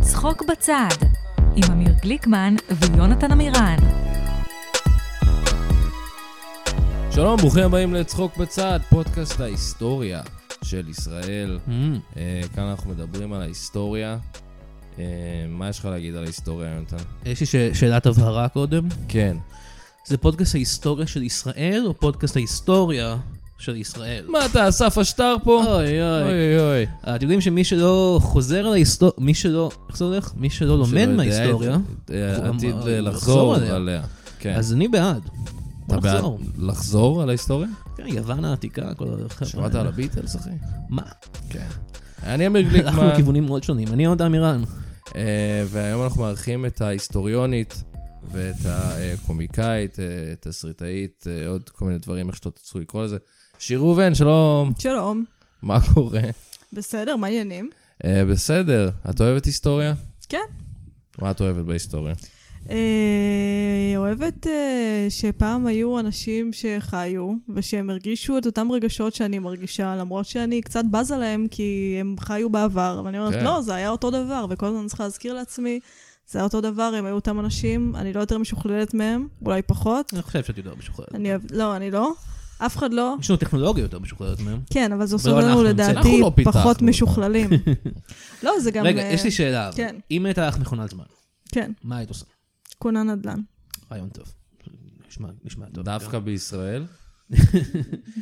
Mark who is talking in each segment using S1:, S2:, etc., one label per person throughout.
S1: צחוק בצד, עם אמיר גליקמן ויונתן עמירן.
S2: שלום, ברוכים הבאים לצחוק בצד, פודקאסט ההיסטוריה של ישראל. אה, כאן אנחנו מדברים על ההיסטוריה. אה, מה יש לך להגיד על ההיסטוריה, יונתן?
S3: יש לי ש- שאלת הבהרה קודם.
S2: כן.
S3: זה פודקאסט ההיסטוריה של ישראל, או פודקאסט ההיסטוריה של ישראל?
S2: מה אתה, אסף השטר פה?
S3: אוי אוי.
S2: אוי אוי.
S3: אתם יודעים שמי שלא חוזר על ההיסטוריה, מי שלא, איך זה הולך? מי שלא
S2: שלא
S3: לומד
S2: יודע
S3: מההיסטוריה,
S2: את- אה,
S3: הוא
S2: עתיד
S3: אמר-
S2: אה,
S3: לחזור
S2: לחזור
S3: עליה.
S2: עליה. כן.
S3: אז אני בעד.
S2: אתה בעד
S3: נחזור.
S2: לחזור על ההיסטוריה?
S3: כן, יוון העתיקה, כל החבר'ה.
S2: שמעת
S3: האלה.
S2: על הביטלס, אחי?
S3: מה?
S2: כן. אני אמיר
S3: הלכנו
S2: גליקמן,
S3: לכיוונים מאוד שונים. אני עוד אמירן.
S2: אה, והיום אנחנו מארחים את ההיסטוריונית ואת הקומיקאית, אה, תסריטאית, אה, עוד כל מיני דברים, איך שאתה תצאו לקרוא לזה. שיר ראובן, שלום,
S4: שלום,
S2: מה קורה?
S4: בסדר, מה העניינים?
S2: אה, בסדר, את אוהבת היסטוריה?
S4: כן.
S2: מה את אוהבת בהיסטוריה?
S4: אה, אוהבת אה, שפעם היו אנשים שחיו, ושהם הרגישו את אותם רגשות שאני מרגישה, למרות שאני קצת בזה להם, כי הם חיו בעבר. ואני אומרת,
S2: כן.
S4: לא, זה היה אותו דבר, וכל הזמן אני צריכה להזכיר לעצמי, זה היה אותו דבר, הם היו אותם אנשים, אני לא יותר משוכללת מהם, אולי פחות.
S3: אני חושב שאת יותר משוחררת.
S4: אני אוהבת, לא, אני לא. אף אחד לא.
S3: יש לנו טכנולוגיה יותר משוחררת מהם.
S4: כן, אבל זה עושה
S3: אבל
S4: לנו
S3: אנחנו נמצא-
S4: לדעתי
S2: אנחנו לא פיתחנו.
S4: פחות משוכללים. לא, זה גם...
S3: רגע,
S4: אה,
S3: יש לי שאלה. אבל.
S4: כן.
S3: אם הייתה לך מכונת זמן,
S4: כן,
S3: מה היית עושה?
S4: כונה נדל"ן.
S3: רעיון טוב. נשמע- נשמע טוב.
S2: דווקא בישראל?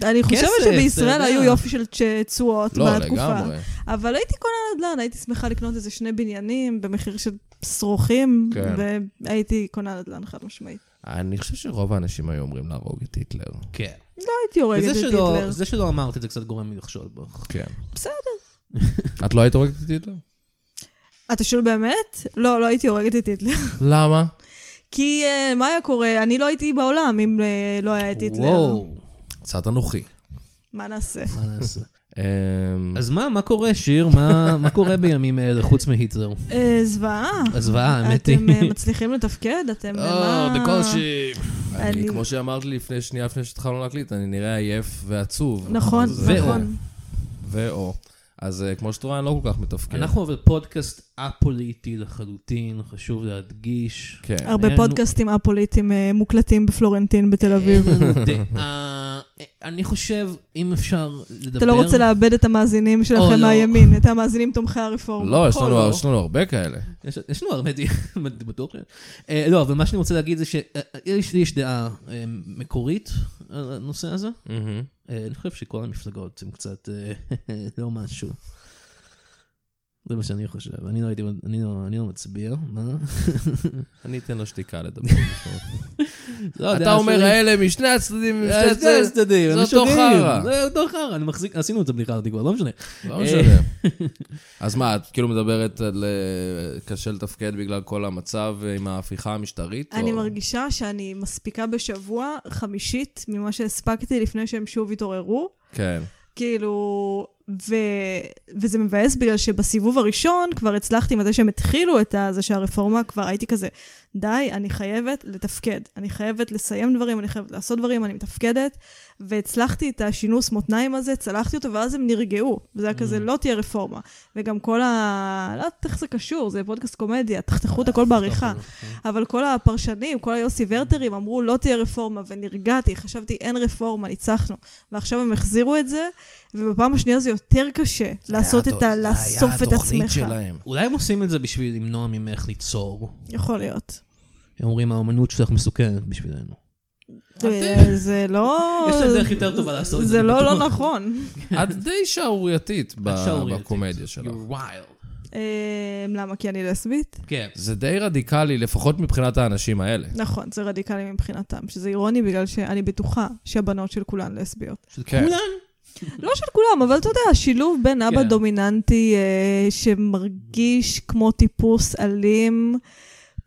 S4: אני חושבת
S3: כסף,
S4: שבישראל
S3: אתה יודע.
S4: היו יופי של צ- תשואות
S2: לא,
S4: בתקופה.
S2: לגמרי.
S4: אבל הייתי קונה נדל"ן, הייתי שמחה לקנות איזה שני בניינים במחיר של שרוכים,
S2: כן.
S4: והייתי קונה נדל"ן חד משמעית.
S2: אני חושב שרוב האנשים היו אומרים להרוג את היטלר.
S3: כן.
S4: לא הייתי הורגת
S3: וזה
S4: את
S3: שלא-
S4: היטלר.
S3: זה שלא אמרת את זה קצת גורם לי לחשוד בך.
S2: כן.
S4: בסדר.
S2: את לא היית הורגת את היטלר?
S4: אתה שואל באמת? לא, לא הייתי הורגת את היטלר.
S2: למה?
S4: כי אה, מה היה קורה? אני לא הייתי בעולם אם אה, לא היה את היטלר.
S3: וואו,
S2: קצת אנוכי.
S4: מה נעשה?
S3: מה נעשה?
S2: אמ,
S3: אז מה, מה קורה, שיר? מה- מה קורה בימים אלה חוץ מהיטלר?
S4: אה, זוועה.
S3: הזוועה, האמת היא.
S4: אתם אה, מצליחים לתפקד? אתם... אה,
S3: אה,
S4: מה-
S2: אני,
S4: אני-
S2: כמו שאמרת לי לפני שנייה, לפני שהתחלנו להקליט, אני נראה עייף ועצוב.
S4: נכון,
S2: אז, אה,
S4: נכון.
S2: ואו. אז אה, כמו שאת רואה, אני לא כל כך מתפקד.
S3: כן. אנחנו אבל פודקאסט א-פוליטי לחלוטין, חשוב להדגיש.
S2: כן.
S4: הרבה
S3: אין לנו-
S4: פודקאסטים א-פוליטיים אה, מוקלטים בפלורנטין בתל אביב.
S3: אין לנו דעה. אה, אני חושב, אם אפשר לדבר...
S4: אתה לא רוצה לאבד את המאזינים
S3: או,
S4: שלכם
S3: לא.
S4: מהימין, את המאזינים תומכי הרפורמה.
S2: לא, יש לנו-
S3: לא.
S2: יש לנו הרבה כאלה.
S3: יש- יש לנו הרבה דעה, בטוח. ש- אה, לא, אבל מה שאני רוצה להגיד זה אה, שיש דעה אה, מקורית על הנושא הזה. אה, אני חושב שכל המפלגות הן קצת אה, לא משהו. זה מה שאני חושב. אני לא הייתי, אני לא, אני לא מצביע, מה?
S2: אני אתן לו שתיקה לדבר.
S3: לא, אה,
S2: אתה אומר, האלה משני הצדדים, משני
S3: שני
S2: הצדדים.
S3: הצדדים,
S2: זה
S3: הם
S2: אותו
S3: שונים.
S2: חרא.
S3: זה אותו חרא, אני מחזיק, עשינו את הבדיחה הזאת כבר, לא משנה.
S2: לא משנה. אז מה, את כאילו מדברת על אה, קשה לתפקד בגלל כל המצב אה, עם ההפיכה המשטרית?
S4: אני
S2: או-
S4: מרגישה שאני מספיקה בשבוע חמישית ממה שהספקתי לפני שהם שוב התעוררו.
S2: כן.
S4: כאילו, ו... וזה מבאס בגלל שבסיבוב הראשון כבר הצלחתי מתי שהם התחילו את ה- זה שהרפורמה, כבר הייתי כזה, די, אני חייבת לתפקד. אני חייבת לסיים דברים, אני חייבת לעשות דברים, אני מתפקדת. והצלחתי את השינוס מותניים הזה, צלחתי אותו, ואז הם נרגעו. וזה היה כזה, לא תהיה רפורמה. וגם כל ה... לא יודעת איך זה קשור, זה פודקאסט קומדיה, אה, תחתכו את הכל כן. בעריכה. אבל כל הפרשנים, כל היוסי ורטרים אמרו, לא תהיה רפורמה, ונרגעתי, חשבתי, אין רפורמה, ניצחנו. ועכשיו הם החזירו את זה, ובפעם השנייה זה יותר קשה לעשות את ה... לאסוף את עצמך.
S3: אולי הם עושים את זה בשביל למנוע ממך ליצור.
S4: יכול להיות.
S3: הם אומרים, האומנות שלך מסוכנת בשבילנו.
S4: זה- זה לא...
S3: יש להם דרך יותר טובה לעשות את זה.
S4: זה
S3: אני
S4: לא
S3: בטוח.
S4: לא נכון.
S2: את די שערורייתית ב-
S3: את שערורייתית.
S2: בקומדיה שלך.
S3: You're wild.
S4: אה, למה? כי אני לסבית?
S3: כן.
S2: זה די רדיקלי, לפחות מבחינת האנשים האלה.
S4: נכון, זה רדיקלי מבחינתם, שזה אירוני בגלל שאני בטוחה שהבנות של כולן לסביות.
S2: כן.
S3: כולן.
S4: לא של כולם, אבל אתה יודע, השילוב בין אבא
S3: כן.
S4: דומיננטי אה, שמרגיש כמו טיפוס אלים,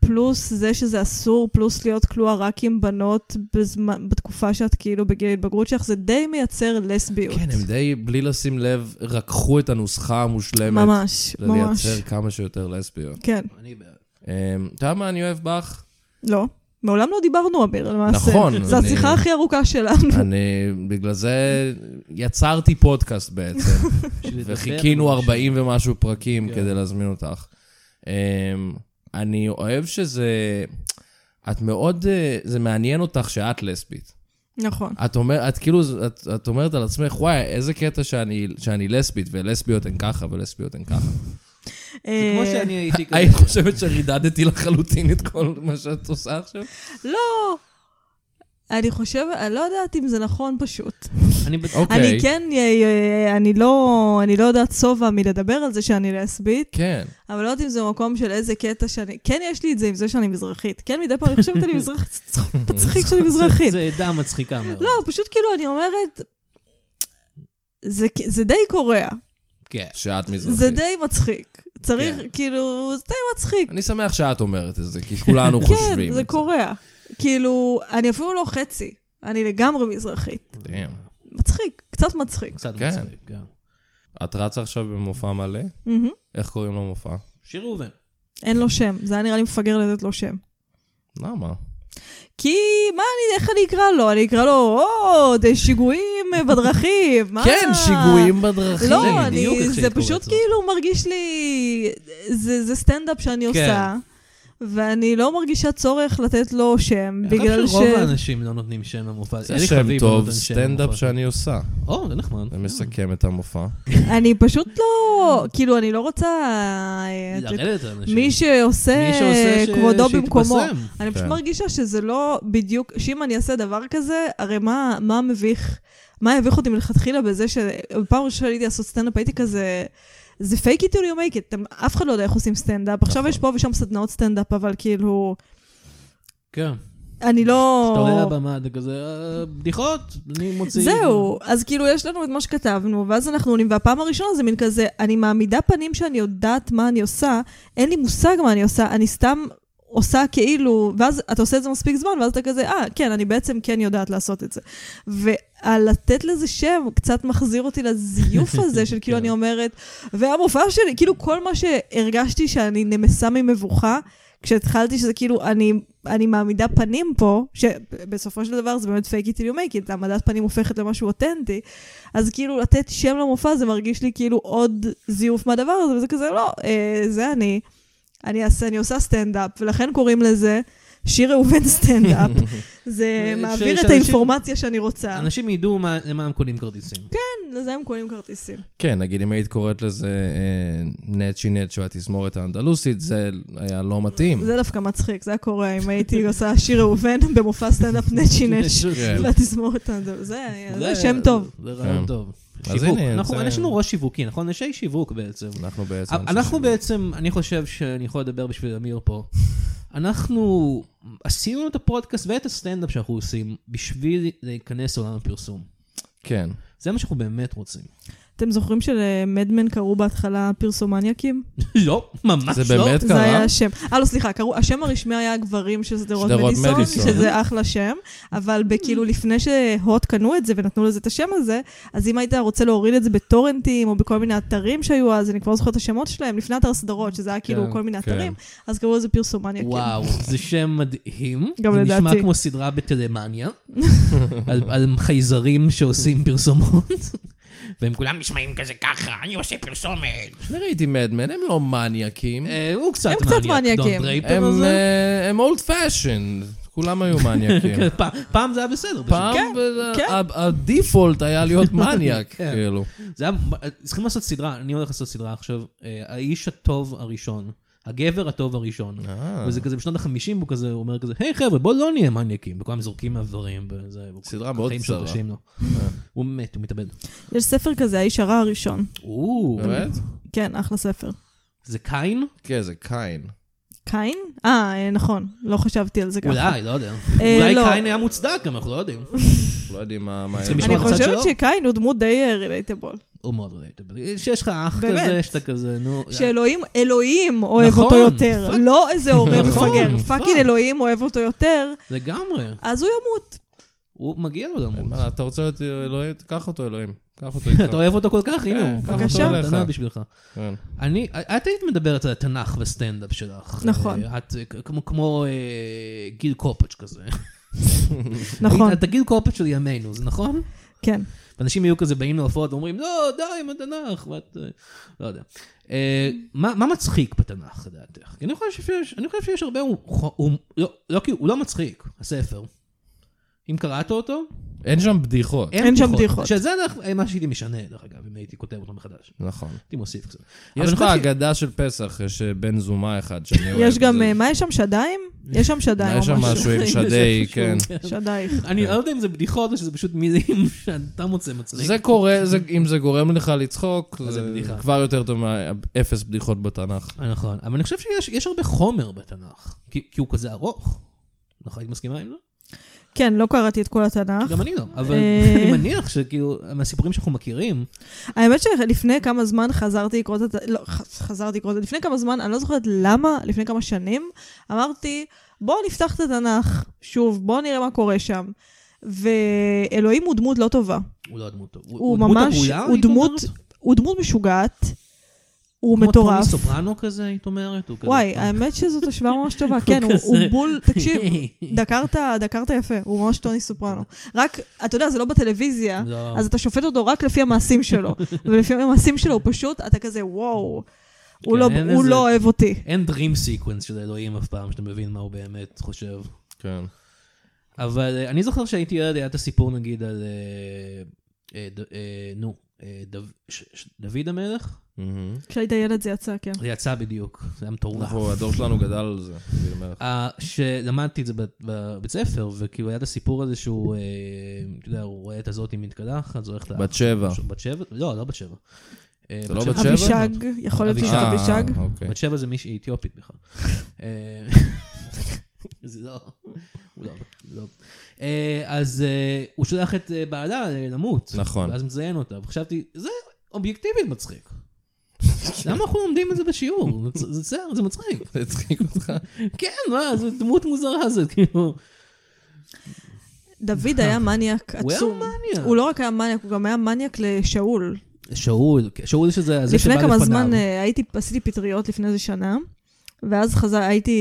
S4: פלוס זה שזה אסור, פלוס להיות כלואה רק עם בנות בזמן, בתקופה שאת כאילו בגיל ההתבגרות שלך, זה די מייצר לסביות.
S2: כן, הם די, בלי לשים לב, לקחו את הנוסחה המושלמת.
S4: ממש, ממש.
S2: לא לייצר כמה שיותר לסביות.
S4: כן,
S3: אני בעד.
S2: אמ, אתה יודע מה אני אוהב בך?
S4: לא. מעולם לא דיברנו, אביר, למעשה.
S2: נכון,
S4: זו
S2: אני-
S4: השיחה הכי ארוכה שלנו.
S2: אני, בגלל זה יצרתי פודקאסט בעצם,
S3: בשביל לדבר
S2: וחיכינו
S3: על
S2: 40 ומשהו פרקים
S3: כן.
S2: כדי להזמין אותך. אמ, אני אוהב שזה... את מאוד... אה, זה מעניין אותך שאת לסבית.
S4: נכון.
S2: את אומרת, את כאילו, את, את אומרת על עצמך, וואי, איזה קטע שאני, שאני לסבית, ולסביות הן ככה, ולסביות הן ככה.
S3: זה כמו
S4: אה,
S3: שאני הייתי כזה.
S2: היית חושבת שרידדתי לחלוטין את כל מה שאת עושה עכשיו?
S4: לא! אני חושבת, אני לא יודעת אם זה נכון פשוט.
S3: אני בטוח.
S2: אוקיי.
S4: אני כן, אה, אה, אני לא, אני לא יודעת שובע מלדבר על זה שאני לסבית,
S2: כן.
S4: אבל לא יודעת אם זה מקום של איזה קטע שאני... כן, יש לי את זה עם זה שאני מזרחית. כן, מדי פעם אני חושבת אני מזרחית, זה צחוק מצחיק שאני מזרחית.
S3: זו עדה מצחיקה מאוד.
S4: לא, פשוט כאילו, אני אומרת... זה, זה די קורע,
S3: כן.
S2: שאת מזרחית.
S4: זה די מצחיק. צריך,
S3: כן.
S4: כאילו, זה די מצחיק.
S2: אני שמח שאת אומרת את זה, כי כולנו חושבים.
S4: כן, זה קורע. כאילו, אני אפילו לא חצי, אני לגמרי מזרחית.
S2: קורה.
S4: מצחיק, קצת מצחיק.
S3: קצת
S2: כן.
S3: מצחיק, כן.
S2: את רצה עכשיו במופע מלא?
S4: מהמם.
S2: איך קוראים למופע?
S3: שיר ראובן.
S4: אין לו שם, זה היה נראה לי מפגר לתת לו שם.
S2: למה?
S4: כי מה אני, איך אני אקרא לו? אני אקרא לו, או, זה שיגועים בדרכים. מה?
S2: כן, שיגועים בדרכים.
S4: לא,
S3: זה בדיוק
S4: אני,
S3: איך
S4: זה
S3: שהיית
S4: פשוט
S3: קוראת לו.
S4: כאילו מרגיש לי, זה, זה סטנדאפ שאני
S3: כן.
S4: עושה, ואני לא מרגישה צורך לתת לו שם, בגלל ש...
S3: אני חושב שרוב האנשים לא נותנים שם למופע.
S2: זה
S3: אלי
S2: שם
S3: חביב לא
S2: טוב,
S3: נותן שם
S2: סטנדאפ
S3: למופע.
S2: שאני עושה.
S3: או, זה נחמד.
S4: אה,
S2: זה מסכם את המופע.
S4: אני פשוט לא, כאילו, אני לא רוצה... אה, את-
S3: לרדת לאנשים.
S4: מי שעושה
S3: מי שעושה ש-
S4: כבודו במקומו.
S3: שיתפרסם.
S4: אני פשוט
S2: כן.
S4: מרגישה שזה לא בדיוק, שאם אני אעשה דבר כזה, הרי מה, מה מביך, מה הביך אותי מלכתחילה בזה שפעם ראשונה שהייתי לעשות סטנדאפ, הייתי כזה, זה fake it till you make it, אתם- אף אחד לא יודע איך עושים סטנדאפ, עכשיו יש פה ושם סדנאות סטנדאפ, אבל כאילו,
S3: כן.
S4: אני לא...
S3: כשאתה עולה לבמה, אתה כזה, "אה, בדיחות, אני מוציא.
S4: זהו, אז כאילו יש לנו את מה שכתבנו, ואז אנחנו עולים, והפעם הראשונה זה מין כזה, אני מעמידה פנים שאני יודעת מה אני עושה, אין לי מושג מה אני עושה, אני סתם עושה כאילו, ואז אתה עושה את זה מספיק זמן, ואז אתה כזה, אה, כן, אני בעצם כן יודעת לעשות את זה. ולתת לזה שם קצת מחזיר אותי לזיוף הזה של כאילו
S3: כן.
S4: אני אומרת, והמופע שלי, כאילו כל מה שהרגשתי שאני נמסה ממבוכה, כשהתחלתי שזה כאילו, אני, אני מעמידה פנים פה, שבסופו של דבר זה באמת fake it till you make it, העמדת פנים הופכת למשהו אותנטי, אז כאילו לתת שם למופע זה מרגיש לי כאילו עוד זיוף מהדבר הזה, וזה כזה, לא, אה, זה אני, אני, אעשה, אני עושה סטנדאפ, ולכן קוראים לזה שיר ראובן סטנדאפ. זה
S3: ש-
S4: מעביר את
S3: שאנשים-
S4: האינפורמציה שאני רוצה.
S3: אנשים ידעו מה- למה הם קונים כרטיסים.
S4: כן, לזה הם קונים כרטיסים.
S2: כן, נגיד אם היית קוראת לזה אה, נצ'י נצ'ו התזמורת האנדלוסית, זה היה לא מתאים.
S4: זה דווקא מצחיק, זה היה קורה אם הייתי עושה שיר ראובן במופע סטנדאפ נצ'י נצ'
S2: כן.
S4: לתזמורת הזאת. זה זה שם טוב.
S3: זה רעיון
S2: כן.
S3: טוב.
S2: אז
S3: שיווק.
S2: הנה,
S3: אנחנו-
S2: זה-
S3: יש לנו ראש שיווקי, נכון? אנשי שיווק בעצם.
S2: אנחנו בעצם...
S3: אנחנו בעצם, אני חושב שאני יכול לדבר בשביל אמיר פה. אנחנו עשינו את הפודקאסט ואת הסטנדאפ שאנחנו עושים בשביל להיכנס לעולם הפרסום.
S2: כן.
S3: זה מה שאנחנו באמת רוצים.
S4: אתם זוכרים שלמדמן קראו בהתחלה פרסומניאקים?
S3: לא, ממש
S2: זה
S3: לא.
S2: באמת
S4: זה היה
S2: קרה?
S4: השם. אה, לא, סליחה, קראו, השם הרשמי היה גברים של שדרות
S2: שדרות
S4: מדיסון,
S2: מדיסון.
S4: שזה אחלה שם, אבל בכאילו לפני שהוט קנו את זה ונתנו לזה את השם הזה, אז אם היית רוצה להוריד את זה בטורנטים או בכל מיני אתרים שהיו אז, אני כבר לא זוכרת את השמות שלהם, לפני אתר סדרות, שזה היה כאילו
S2: כן,
S4: כל מיני
S2: כן.
S4: אתרים, אז קראו לזה כן. פרסומניאקים.
S3: וואו, זה שם מדהים.
S4: גם
S3: זה זה
S4: לדעתי.
S3: נשמע כמו סדרה בטלמניה, על, על חייזרים שעושים פרסומות, והם כולם נשמעים כזה ככה, אני עושה פרסומת.
S2: אני ראיתי מדמן, הם לא מניאקים.
S3: אה, הוא קצת
S4: הם קצת
S3: מניאק,
S4: מניאקים.
S3: דון דרייפר
S2: הם,
S3: הזה.
S2: אה, הם אולד פאשן, כולם היו מניאקים.
S3: כן, פעם- פעם זה היה בסדר. פשוט.
S2: פעם
S4: כן,
S2: ב-
S4: כן.
S2: ה- הדיפולט היה להיות מניאק,
S3: כן.
S2: כאילו.
S3: זה היה, אה, צריכים לעשות סדרה, אני הולך לעשות סדרה עכשיו, אה, האיש הטוב הראשון, הגבר הטוב הראשון.
S2: אה.
S3: וזה כזה בשנות החמישים, הוא כזה, הוא אומר כזה, היי חבר'ה, בואו לא נהיה מניאקים, וכולם זורקים מהדברים, וזה,
S2: סדרה מאוד
S3: החיים שלו
S2: קצרה. אה.
S3: קשים לו. הוא מת, הוא מתאבד.
S4: יש ספר כזה, האיש הרע הראשון.
S3: או,
S2: באמת?
S4: כן, אחלה ספר.
S3: זה קין?
S2: כן, זה קין.
S4: קין? אה, אה, נכון, לא חשבתי על זה ככה.
S3: אולי, לא יודע.
S4: אה,
S3: אולי
S4: לא.
S3: קין היה מוצדק, גם אנחנו לא יודעים.
S2: לא יודעים מה... מה-
S3: צריכים
S4: אני
S3: לשמוע מהצד
S4: חושבת
S3: שלו?
S4: שקין הוא דמות די אה, רילייטבול.
S3: הוא מאוד רלייטבל. שיש לך אח
S4: באמת.
S3: כזה, שאתה כזה, נו.
S4: שאלוהים, אלוהים אוהב
S3: נכון,
S4: אותו יותר.
S3: פאק.
S4: לא איזה הורה
S3: נכון,
S4: מפגר,
S3: פאק.
S4: פאקינג אלוהים אוהב אותו יותר,
S3: לגמרי.
S4: אז הוא ימות.
S3: הוא מגיע לו
S2: אין
S3: למות.
S2: מה, אתה רוצה להיות אלוהים? קח אותו, אלוהים. קח אותו
S3: אתה
S2: איתך.
S3: אוהב אותו כל כך, הנה הוא.
S2: כן,
S3: קח
S4: בבקשה.
S3: אותו מתנה בשבילך.
S2: כן.
S3: אני, את היית מדברת על התנ"ך בסטנדאפ שלך.
S4: נכון.
S3: אה, את אה, כ- כמו- כמו אה, גיל קופץ' כזה.
S4: נכון,
S3: היית- את הגיל קופץ' של ימינו, זה נכון?
S4: כן.
S3: ואנשים יהיו כזה באים להופעות ואומרים, לא, די עם התנ"ך, ואת... אה, לא יודע. אה, מה מה מצחיק בתנ"ך, לדעתך? כי אני חושב שיש- אני חושב שיש הרבה... הומ- הומ- לא, לא, כי הוא לא מצחיק, הספר. אם קראת אותו,
S2: אין שם בדיחות.
S4: אין שם בדיחות.
S3: שזה אנחנו- אה, מה שהייתי משנה, דרך אגב, אם הייתי כותב אותו מחדש.
S2: נכון.
S3: הייתי מוסיף קצת. אבל
S2: יש
S3: אני
S2: לך
S3: חושב ש-
S2: אגדה של פסח, יש אה, בן זומה אחד שאני אוהב.
S4: יש גם,
S2: זה-
S4: אה, מה יש שם, שדיים? יש שם שדיים או
S2: יש שם משהו עם שדי,
S3: יש
S2: כן.
S3: משהו שהוא-
S4: שדייך.
S3: אני לא יודע אם זה בדיחות או שזה פשוט מילים שאתה מוצא מצחיק.
S2: זה קורה, זה- אם זה גורם לך לצחוק,
S3: אז זה
S2: זה
S3: בדיחה.
S2: כבר יותר טוב מאפס בדיחות בתנ"ך.
S3: אה, נכון, אבל אני חושב שיש יש הרבה חומר בתנ"ך, כי כי הוא כזה ארוך. נכון, היית מסכימה עם זה?
S4: כן, לא קראתי את כל התנ"ך.
S3: גם אני לא, אבל
S4: אה.
S3: אני מניח שכאילו, מהסיפורים שאנחנו מכירים,
S4: האמת שלפני כמה זמן חזרתי לקרוא את... הת- לא, ח- חזרתי לקרוא את... לפני כמה זמן, אני לא זוכרת למה, לפני כמה שנים, אמרתי, בואו נפתח את התנ"ך שוב, בואו נראה מה קורה שם. ואלוהים הוא דמות לא טובה.
S3: הוא לא דמות טוב.
S4: הוא
S3: דמות
S4: ממש...
S3: עגולה,
S4: הוא
S3: היית
S4: דמות...
S3: אומרת?
S4: הוא דמות משוגעת, הוא
S3: כמו
S4: מטורף.
S3: טוני סופרנו כזה, היית אומרת? הוא כזה-
S4: וואי, האמת שזאת השוואה ממש טובה. כן, הוא-
S3: כזה.
S4: הוא בול, תקשיב, דקרת, דקרת יפה, הוא ממש טוני סופרנו. רק, אתה יודע, זה לא בטלוויזיה,
S3: לא.
S4: אז אתה שופט אותו רק לפי המעשים שלו. ולפי המעשים שלו הוא פשוט, אתה כזה, וואו, הוא
S3: כן,
S4: לא-
S3: אין
S4: הוא
S3: איזה-
S4: לא אוהב אותי.
S3: אין dream sequence של אלוהים אף פעם, שאתה מבין מה הוא באמת חושב.
S2: כן.
S3: אבל אה, אני זוכר שהייתי ילד, היה את הסיפור נגיד על... אה, אה, ד- אה, נו, אה, דוד- ש- ש- דוד המלך?
S2: מהמם.
S4: כשהיית ילד זה יצא, כן.
S3: זה יצא בדיוק, זה היה מטורף.
S2: אנחנו, הדור שלנו גדל על זה, דוד המלך.
S3: אה, שלמדתי את זה בב- בבית ספר, וכאילו היה את הסיפור הזה שהוא, אה, אתה יודע, הוא רואה את הזאת עם מתקלחת, זו הולכת...
S2: בת שבע.
S3: בת שבע? לא, לא בת שבע. אה,
S2: זה לא בת שבע?
S4: אבישג, יכול להיות שזה
S2: אה,
S4: אבישג.
S2: אוקיי.
S3: בת שבע זה מישהי אתיופית בכלל. אה, זה לא... הוא לא... לא. אה, אז אה, הוא שולח את אה, בעלה אה, למות.
S2: נכון.
S3: ואז מזיין אותה. וחשבתי, זה אובייקטיבית מצחיק. למה אנחנו לומדים את זה בשיעור? זה- זה בסדר, זה מצחיק.
S2: זה הצחיק אותך?
S3: כן, מה, זו דמות מוזרה הזאת, כאילו.
S4: דוד היה מניאק
S3: הוא היה
S4: עצום.
S3: מניאק.
S4: הוא לא רק היה מניאק, הוא גם היה מניאק לשאול.
S3: שאול, שאול שזה, זה שבא
S4: לפני
S3: לפניו.
S4: כמה זמן אה, הייתי, עשיתי פטריות לפני איזה שנה, ואז חזר, הייתי,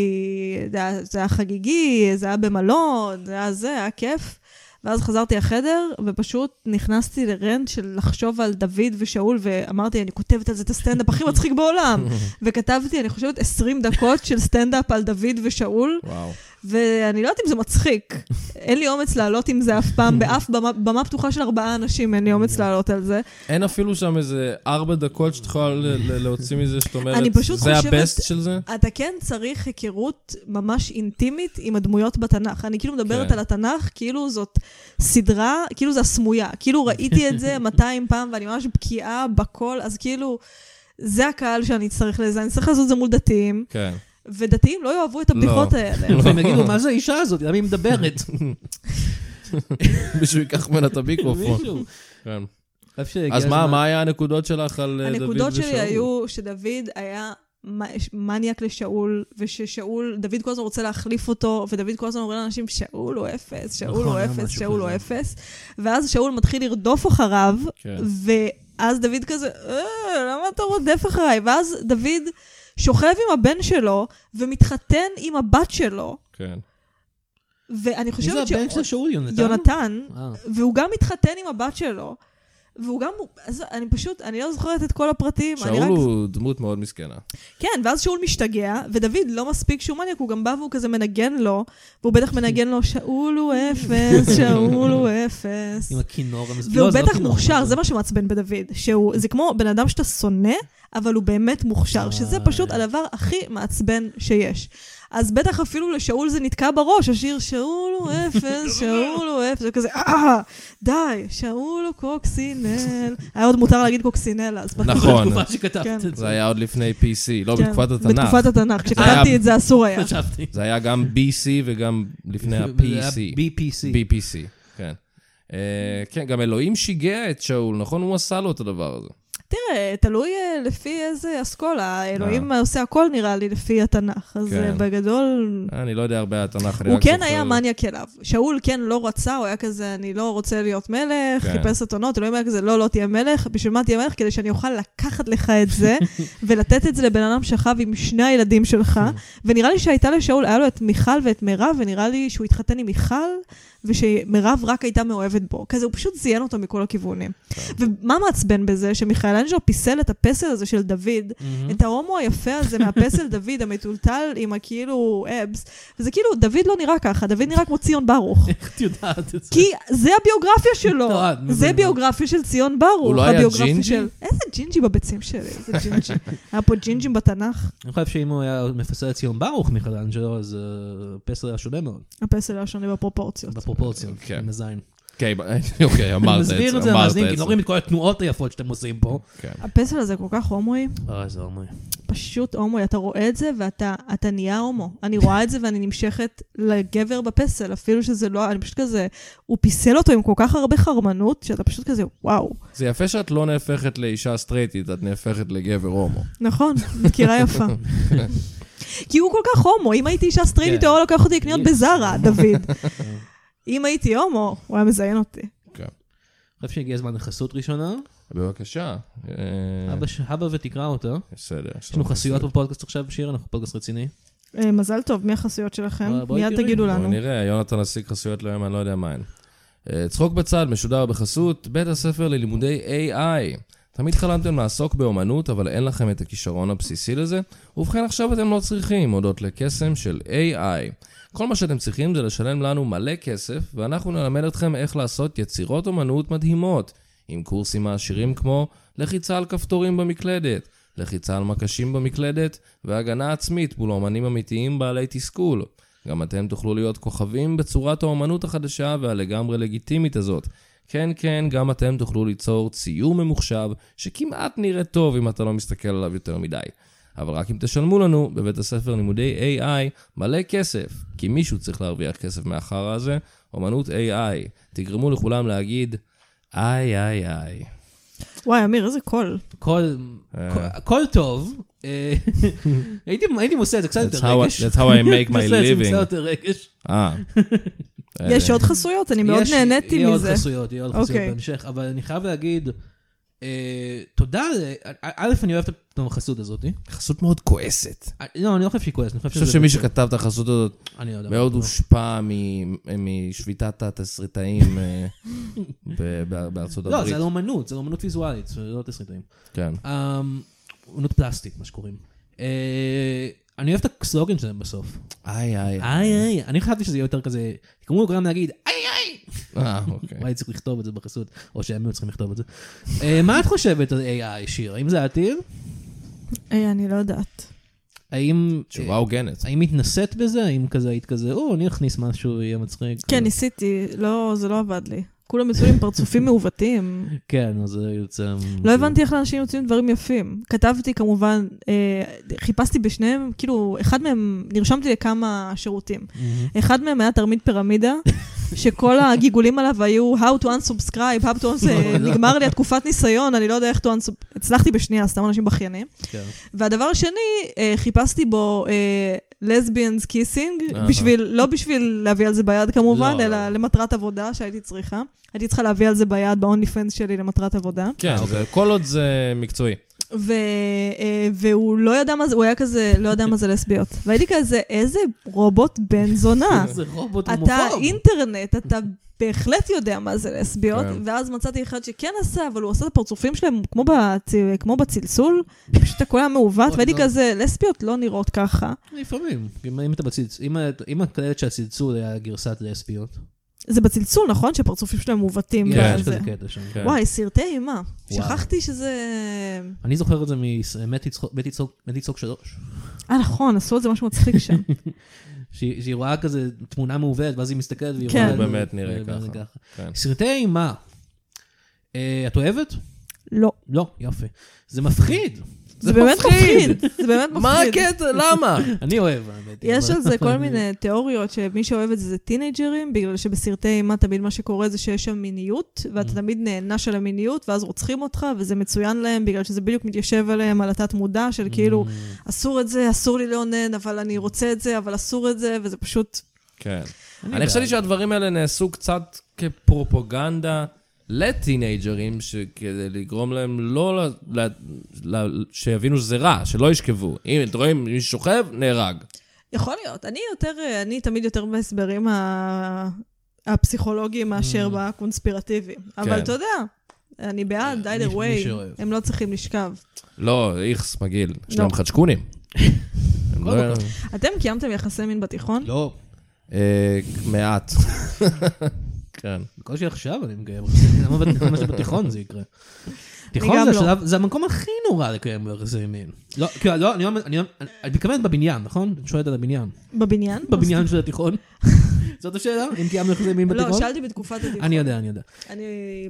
S4: זה היה- זה היה חגיגי, זה היה במלון, זה היה זה, היה כיף. ואז חזרתי לחדר, ופשוט נכנסתי לרנט של לחשוב על דוד ושאול, ואמרתי, אני כותבת על זה את הסטנדאפ הכי מצחיק בעולם. וכתבתי, אני חושבת, 20 דקות של סטנדאפ על דוד ושאול,
S2: וואו.
S4: ואני לא יודעת אם זה מצחיק. אין לי אומץ לעלות עם זה אף פעם, באף במה, במה פתוחה של ארבעה אנשים אין לי
S3: אוקיי.
S4: אומץ לעלות על זה.
S2: אין אפילו שם איזה ארבע דקות שאת יכולה ל- ל- להוציא מזה, שאת אומרת,
S4: אני פשוט
S2: זה
S4: חושבת-
S2: הבסט של זה?
S4: אתה כן צריך היכרות ממש אינטימית עם הדמויות בתנ"ך. אני כאילו מדברת
S2: כן.
S4: כן. על התנ"ך, כאילו זאת סדרה, כאילו זה הסמויה. כאילו ראיתי את זה 200 פעם ואני ממש בקיאה בכל, אז כאילו, זה הקהל שאני אצטרך לזה. אני אצטרך לעשות את זה מול דתיים,
S2: כן.
S4: ודתיים לא יאהבו את הבדיחות
S2: לא.
S4: האלה.
S3: והם יגידו, מה זה האישה הזאת? למה היא מדברת?
S2: מישהו ייקח ממנה את המיקרופון.
S3: מישהו.
S2: כן.
S3: אני חושב שהגיע
S2: אז מה,
S3: הזמן-
S2: מה היה הנקודות שלך על אה, דוד ושאול?
S4: הנקודות שלי היו שדוד היה... מ- מניאק לשאול, וששאול, דוד כל הזמן רוצה להחליף אותו, ודוד כל הזמן אומר לאנשים, שאול הוא אפס, שאול
S3: נכון,
S4: הוא
S3: היה
S4: אפס,
S3: משהו
S4: שאול הוא
S3: כזה.
S4: אפס. ואז שאול מתחיל לרדוף אחריו,
S2: כן.
S4: ואז דוד כזה, "אה, למה אתה רודף אחריי? ואז דוד שוכב עם הבן שלו, ומתחתן עם הבת שלו,
S2: כן.
S4: ואני
S3: מי זה
S4: חושבת ש...
S3: הבן של שאול? יונתן?
S4: יונתן,
S3: אה.
S4: והוא גם מתחתן עם הבת שלו, והוא גם, אז אני פשוט, אני לא זוכרת את כל הפרטים, אני
S2: שאול
S4: רק
S2: הוא דמות מאוד מסכנה.
S4: כן, ואז שאול משתגע, ודוד לא מספיק שהוא מניאק, הוא גם בא והוא כזה מנגן לו, והוא בטח מנגן לו, שאול הוא אפס, שאול הוא אפס.
S3: עם הכינור המס...
S4: והוא
S3: לא, זה לא
S4: בטח
S3: כינור,
S4: מוכשר,
S3: אבל-
S4: זה מה שמעצבן בדוד, שהוא, זה כמו בן אדם שאתה שונא, אבל הוא באמת מוכשר, שזה פשוט הדבר הכי מעצבן שיש. אז בטח אפילו לשאול זה נתקע בראש, השיר שאול הוא אפס, שאול הוא אפס, וכזה, אה, די, שאול הוא קוקסינל. היה עוד מותר להגיד קוקסינל אז. בתקופה
S2: נכון.
S3: בתקופה שכתבת
S4: כן.
S3: את זה.
S2: זה היה עוד לפני PC, לא,
S4: כן,
S2: בתקופת התנ"ך.
S4: בתקופת התנ"ך, כשכתבתי את זה אסור היה.
S3: חשבתי.
S2: זה היה גם BC וגם לפני
S3: זה היה
S2: ה-PC.
S3: BPC.
S2: BPC, כן. אה, כן, גם אלוהים שיגע את שאול, נכון? הוא עשה לו את הדבר הזה.
S4: תראה, תלוי אה, לפי איזה אסכולה. אלוהים עושה הכל, נראה לי, לפי התנ"ך. אז אה,
S2: אה. כן.
S4: בגדול,
S2: אני לא יודע הרבה על התנ"ך. אני
S4: הוא
S2: רק
S4: כן
S2: זוכר-
S4: היה מניאק אליו. שאול כן לא רצה, הוא היה כזה, אני לא רוצה להיות מלך,
S2: כן.
S4: חיפש אתונות, אלוהים היה כזה, לא, לא תהיה מלך, בשביל מה תהיה מלך? כדי שאני אוכל לקחת לך את זה, ולתת את זה לבן אדם שכב עם שני הילדים שלך.
S2: כן.
S4: ונראה לי שהייתה לשאול, היה לו את מיכל ואת מירב, ונראה לי שהוא התחתן עם מיכל, ושמירב רק הייתה מאוהבת בו. כזה, הוא פשוט זיין אותו מכל הכיוונים. ומה מעצבן בזה? שמיכאלנג'לו פיסל את הפסל הזה של דוד,
S2: Mm-hmm.
S4: את ההומו היפה הזה מהפסל דוד המטולטל עם הכאילו אבס, וזה כאילו, דוד לא נראה ככה, דוד נראה כמו ציון ברוך.
S3: איך את יודעת את זה?
S4: כי זה הביוגרפיה שלו,
S3: לא, את מבינה.
S4: זה ביוגרפיה של ציון ברוך.
S2: הוא לא היה
S4: הביוגרפיה
S2: ג'ינג'י?
S4: של- איזה ג'ינג'י בביצים שלי, איזה ג'ינג'י. היה פה ג'ינג'ים בתנ"ך,
S3: אני חושב שאם הוא היה מפסל את ציון ברוך מיכלנג'לו, אז אה, פסל היה שונה מאוד,
S4: הפסל היה שונה בפרופורציות.
S3: בפרופורציות,
S2: כן.
S3: עם הזין.
S2: אוקיי, ב- אוקיי, אמרת
S3: אני
S2: את זה.
S3: מסביר את זה
S2: אמרת
S3: למאזינים, כי
S2: את
S3: לא
S2: זה.
S3: רואים את כל התנועות היפות שאתם עושים פה.
S2: כן.
S4: הפסל הזה כל כך הומואי,
S3: אוי, זה לא אומר.
S4: פשוט הומואי, אתה רואה את זה ואתה אתה נהיה הומו. אני רואה את זה ואני נמשכת לגבר בפסל, אפילו שזה לא, אני פשוט כזה, הוא פיסל אותו עם כל כך הרבה חרמנות, שאתה פשוט כזה, וואו.
S2: זה יפה שאת לא נהפכת לאישה סטרייטית, את נהפכת לגבר הומו.
S4: נכון, דקירה יפה. כי הוא כל כך הומו, אם הייתי אישה סטרייטית,
S3: כן.
S4: הוא היה לוקח אותי לקניות
S3: יש.
S4: בזארה, דוד. אם הייתי הומו, הוא היה מזיין אותי.
S2: כן.
S3: אני חושב שהגיע הזמן לחסות ראשונה.
S2: בבקשה. אה,
S3: אבא ש- אבא ותקרא אותה.
S2: בסדר. יש
S3: יש לנו חסויות בפודקאסט עכשיו, שיר, אנחנו פודקאסט רציני.
S4: אה, מזל טוב, מי החסויות שלכם?
S3: אה, בואי
S4: מיד
S3: תראי.
S4: תגידו
S2: בואו
S4: לנו.
S2: נראה, יונתן השיג חסויות ליום, אני לא יודע מה הן. אה, צחוק בצד משודר בחסות בית הספר ללימודי AI. תמיד חלמתם לעסוק באומנות, אבל אין לכם את הכישרון הבסיסי לזה, ובכן עכשיו אתם לא צריכים, הודות לקסם של AI. כל מה שאתם צריכים זה לשלם לנו מלא כסף, ואנחנו נלמד אתכם איך לעשות יצירות אומנות מדהימות, עם קורסים מעשירים כמו לחיצה על כפתורים במקלדת, לחיצה על מקשים במקלדת, והגנה עצמית מול אומנים אמיתיים בעלי תסכול. גם אתם תוכלו להיות כוכבים בצורת האומנות החדשה והלגמרי לגיטימית הזאת. כן, כן, גם אתם תוכלו ליצור ציור ממוחשב שכמעט נראה טוב אם אתה לא מסתכל עליו יותר מדי. אבל רק אם תשלמו לנו בבית הספר לימודי AI מלא כסף, כי מישהו צריך להרוויח כסף מהחרא הזה, אומנות AI. תגרמו לכולם להגיד, איי, איי, איי.
S4: וואי, אמיר, איזה קול.
S3: הכל
S2: אה.
S3: הכל טוב. אה, הייתי הייתי עושה את זה קצת
S2: That's
S3: יותר
S2: how I-
S3: רגש.
S2: that's how I make my
S3: עושה את זה עם
S2: living.
S3: קצת יותר רגש.
S2: אה.
S4: יש עוד חסויות? אני מאוד
S3: אה. יש-
S4: נהניתי
S3: יהיה עוד
S4: מזה.
S3: חסויות, יהיה עוד חסויות
S4: אוקיי.
S3: בהמשך, אבל אני חייב להגיד, אה, תודה, ל- א- א', אני אוהב את החסות הזאת.
S2: חסות מאוד כועסת.
S3: אה, לא, אני לא חושב שהיא כועסת, אני
S2: אני
S3: חושב
S2: חושב
S3: שזה...
S2: שמי שכתב את החסות הזאת
S3: אני לא יודע.
S2: מאוד הושפע מ- משביתת התסריטאים אה, ב- ב- בארצות
S3: לא,
S2: הברית.
S3: זה על אומנות, זה על אומנות ויזואלית, זה לא תסריטאים.
S2: כן.
S3: אמ, אומנות פלסטית, מה שקוראים. אה, אני אוהב את הסלוגן שלהם בסוף.
S2: איי, איי.
S3: איי איי, אני חשבתי שזה יהיה יותר כזה, תגרמו לכולם להגיד, איי איי!
S2: אה, אוקיי.
S3: וואי, צריך לכתוב את זה בחסות, או שהם היו צריכים לכתוב את זה. אה, מה את חושבת על AI, שיר? האם זה העתיד?
S4: היי, אני לא יודעת.
S3: האם...
S2: תשובה הוגנת.
S3: האם התנסית בזה? האם כזה היית כזה, או, אני אכניס משהו, יהיה מצחיק. כאילו.
S4: כן, ניסיתי, לא, זה לא עבד לי. כולם יצאו עם פרצופים מעוותים.
S3: כן, אז זה יוצא...
S4: לא הבנתי איך לאנשים יוצאים דברים יפים. כתבתי כמובן, אה, חיפשתי בשניהם, כאילו, אחד מהם, נרשמתי לכמה שירותים.
S3: מהמם.
S4: אחד מהם היה תרמית פירמידה, שכל הגיגולים עליו היו How to unsubscribe, How to
S2: לא,
S4: unsubscribe, נגמר לי התקופת ניסיון, אני לא יודע איך to unsubscribe, הצלחתי בשנייה, סתם אנשים בכיינים.
S3: כן.
S4: והדבר השני, אה, חיפשתי בו לסביאנס קיסינג,
S2: אהה.
S4: בשביל, לא בשביל להביא על זה ביד כמובן,
S2: לא,
S4: אלא
S2: לא.
S4: למטרת עבודה שהייתי צריכה. הייתי צריכה להביא על זה ביד ב-only fans שלי למטרת עבודה.
S2: כן,
S3: אוקיי.
S2: זה- כל עוד זה מקצועי.
S4: ו, אה, והוא לא ידע מה זה, הוא היה כזה, לא ידע מה זה לסביות. והייתי כזה, איזה רובוט בן זונה.
S3: כאילו, זה רובוט
S4: אתה
S3: הומופוב.
S4: אינטרנט, אתה בהחלט יודע מה זה לסביות,
S2: כן.
S4: ואז מצאתי אחד שכן עשה, אבל הוא עשה את הפרצופים שלהם כמו, בצ... כמו בצלצול, פשוט הכל היה מעוות,
S3: אוי,
S4: והייתי
S3: לא.
S4: כזה, לסביות לא נראות ככה.
S3: לפעמים. אם אם אתה בצלצ... אם את- אם את קלטת שהצלצול היה גרסת לסביות.
S4: זה בצלצול, נכון? שהפרצופים שלהם מעוותים.
S2: כן.
S3: יש
S4: וזה.
S3: כזה קטע שם.
S2: כן.
S4: וואי, סרטי אימה.
S3: וואו.
S4: שכחתי שזה...
S3: אני זוכר את זה ממתי צחוק- מתי צחוק- מתי צחוק שלוש.
S4: אה, נכון, עשו על זה משהו מצחיק שם.
S3: שהיא שהיא רואה כזה תמונה מעוותת, ואז היא מסתכלת והיא
S4: כן.
S3: רואה...
S2: הוא באמת נראה
S3: ואז
S2: ככה.
S3: זה
S2: כן.
S3: סרטי אימה. אה, את אוהבת?
S4: לא.
S3: לא, יופי. זה מפחיד.
S4: זה באמת מפחיד. זה באמת מפחיד.
S2: מה הקטע? למה?
S3: אני אוהב, האמת.
S4: יש
S3: אבל-
S4: על זה כל מיני תיאוריות, שמי שאוהב את זה זה טינג'רים, בגלל שבסרטי אימה תמיד מה שקורה זה שיש שם מיניות,
S3: Mm.
S4: ואתה תמיד נענש על המיניות, ואז רוצחים אותך, וזה מצוין להם, בגלל שזה בדיוק מתיישב עליהם, על התת-מודע
S3: Mm.
S4: של כאילו, אסור את זה, אסור לי לאונן, אבל אני רוצה את זה, אבל אסור את זה, וזה פשוט...
S2: כן.
S3: בעד.
S2: אני חשבתי שהדברים האלה נעשו קצת כפרופוגנדה לטינג'רים, כדי לגרום להם לא ל... ל... ל... שיבינו שזה רע, שלא ישכבו. אם אתם רואים מי ששוכב, נהרג.
S4: יכול להיות. אני יותר, אני תמיד יותר בהסברים ה... הפסיכולוגיים מאשר
S3: Mm.
S4: בקונספירטיביים. אבל אתה יודע, אני בעד,
S3: כן. אה, מי-
S4: either
S3: מי
S4: way,
S3: שאוהב.
S4: הם לא צריכים לשכב.
S2: לא, איכס מגעיל. יש להם
S4: לא.
S2: חדשקונים. הם
S3: כל
S2: לא-
S3: מקום.
S4: אתם קיימתם יחסי מין בתיכון?
S3: לא,
S2: אה, מעט. כן.
S3: בקושי עכשיו אני מגייר. למה בת- למה שבתיכון זה יקרה? תיכון
S4: גם
S3: זה
S4: לא.
S3: השלב, זה המקום הכי נורא לקיים בו יחסי מין. לא, כאילו, לא, אני אומר- אני אומר- אני- את מתכוונת בבניין, נכון? את שואלת על הבניין.
S4: בבניין?
S3: בבניין של התיכון? זאת השאלה? אם קיימנו יחסי מין
S4: לא,
S3: בתיכון?
S4: שאלתי בתקופת התיכון.
S3: אני יודע, אני יודע.
S4: אני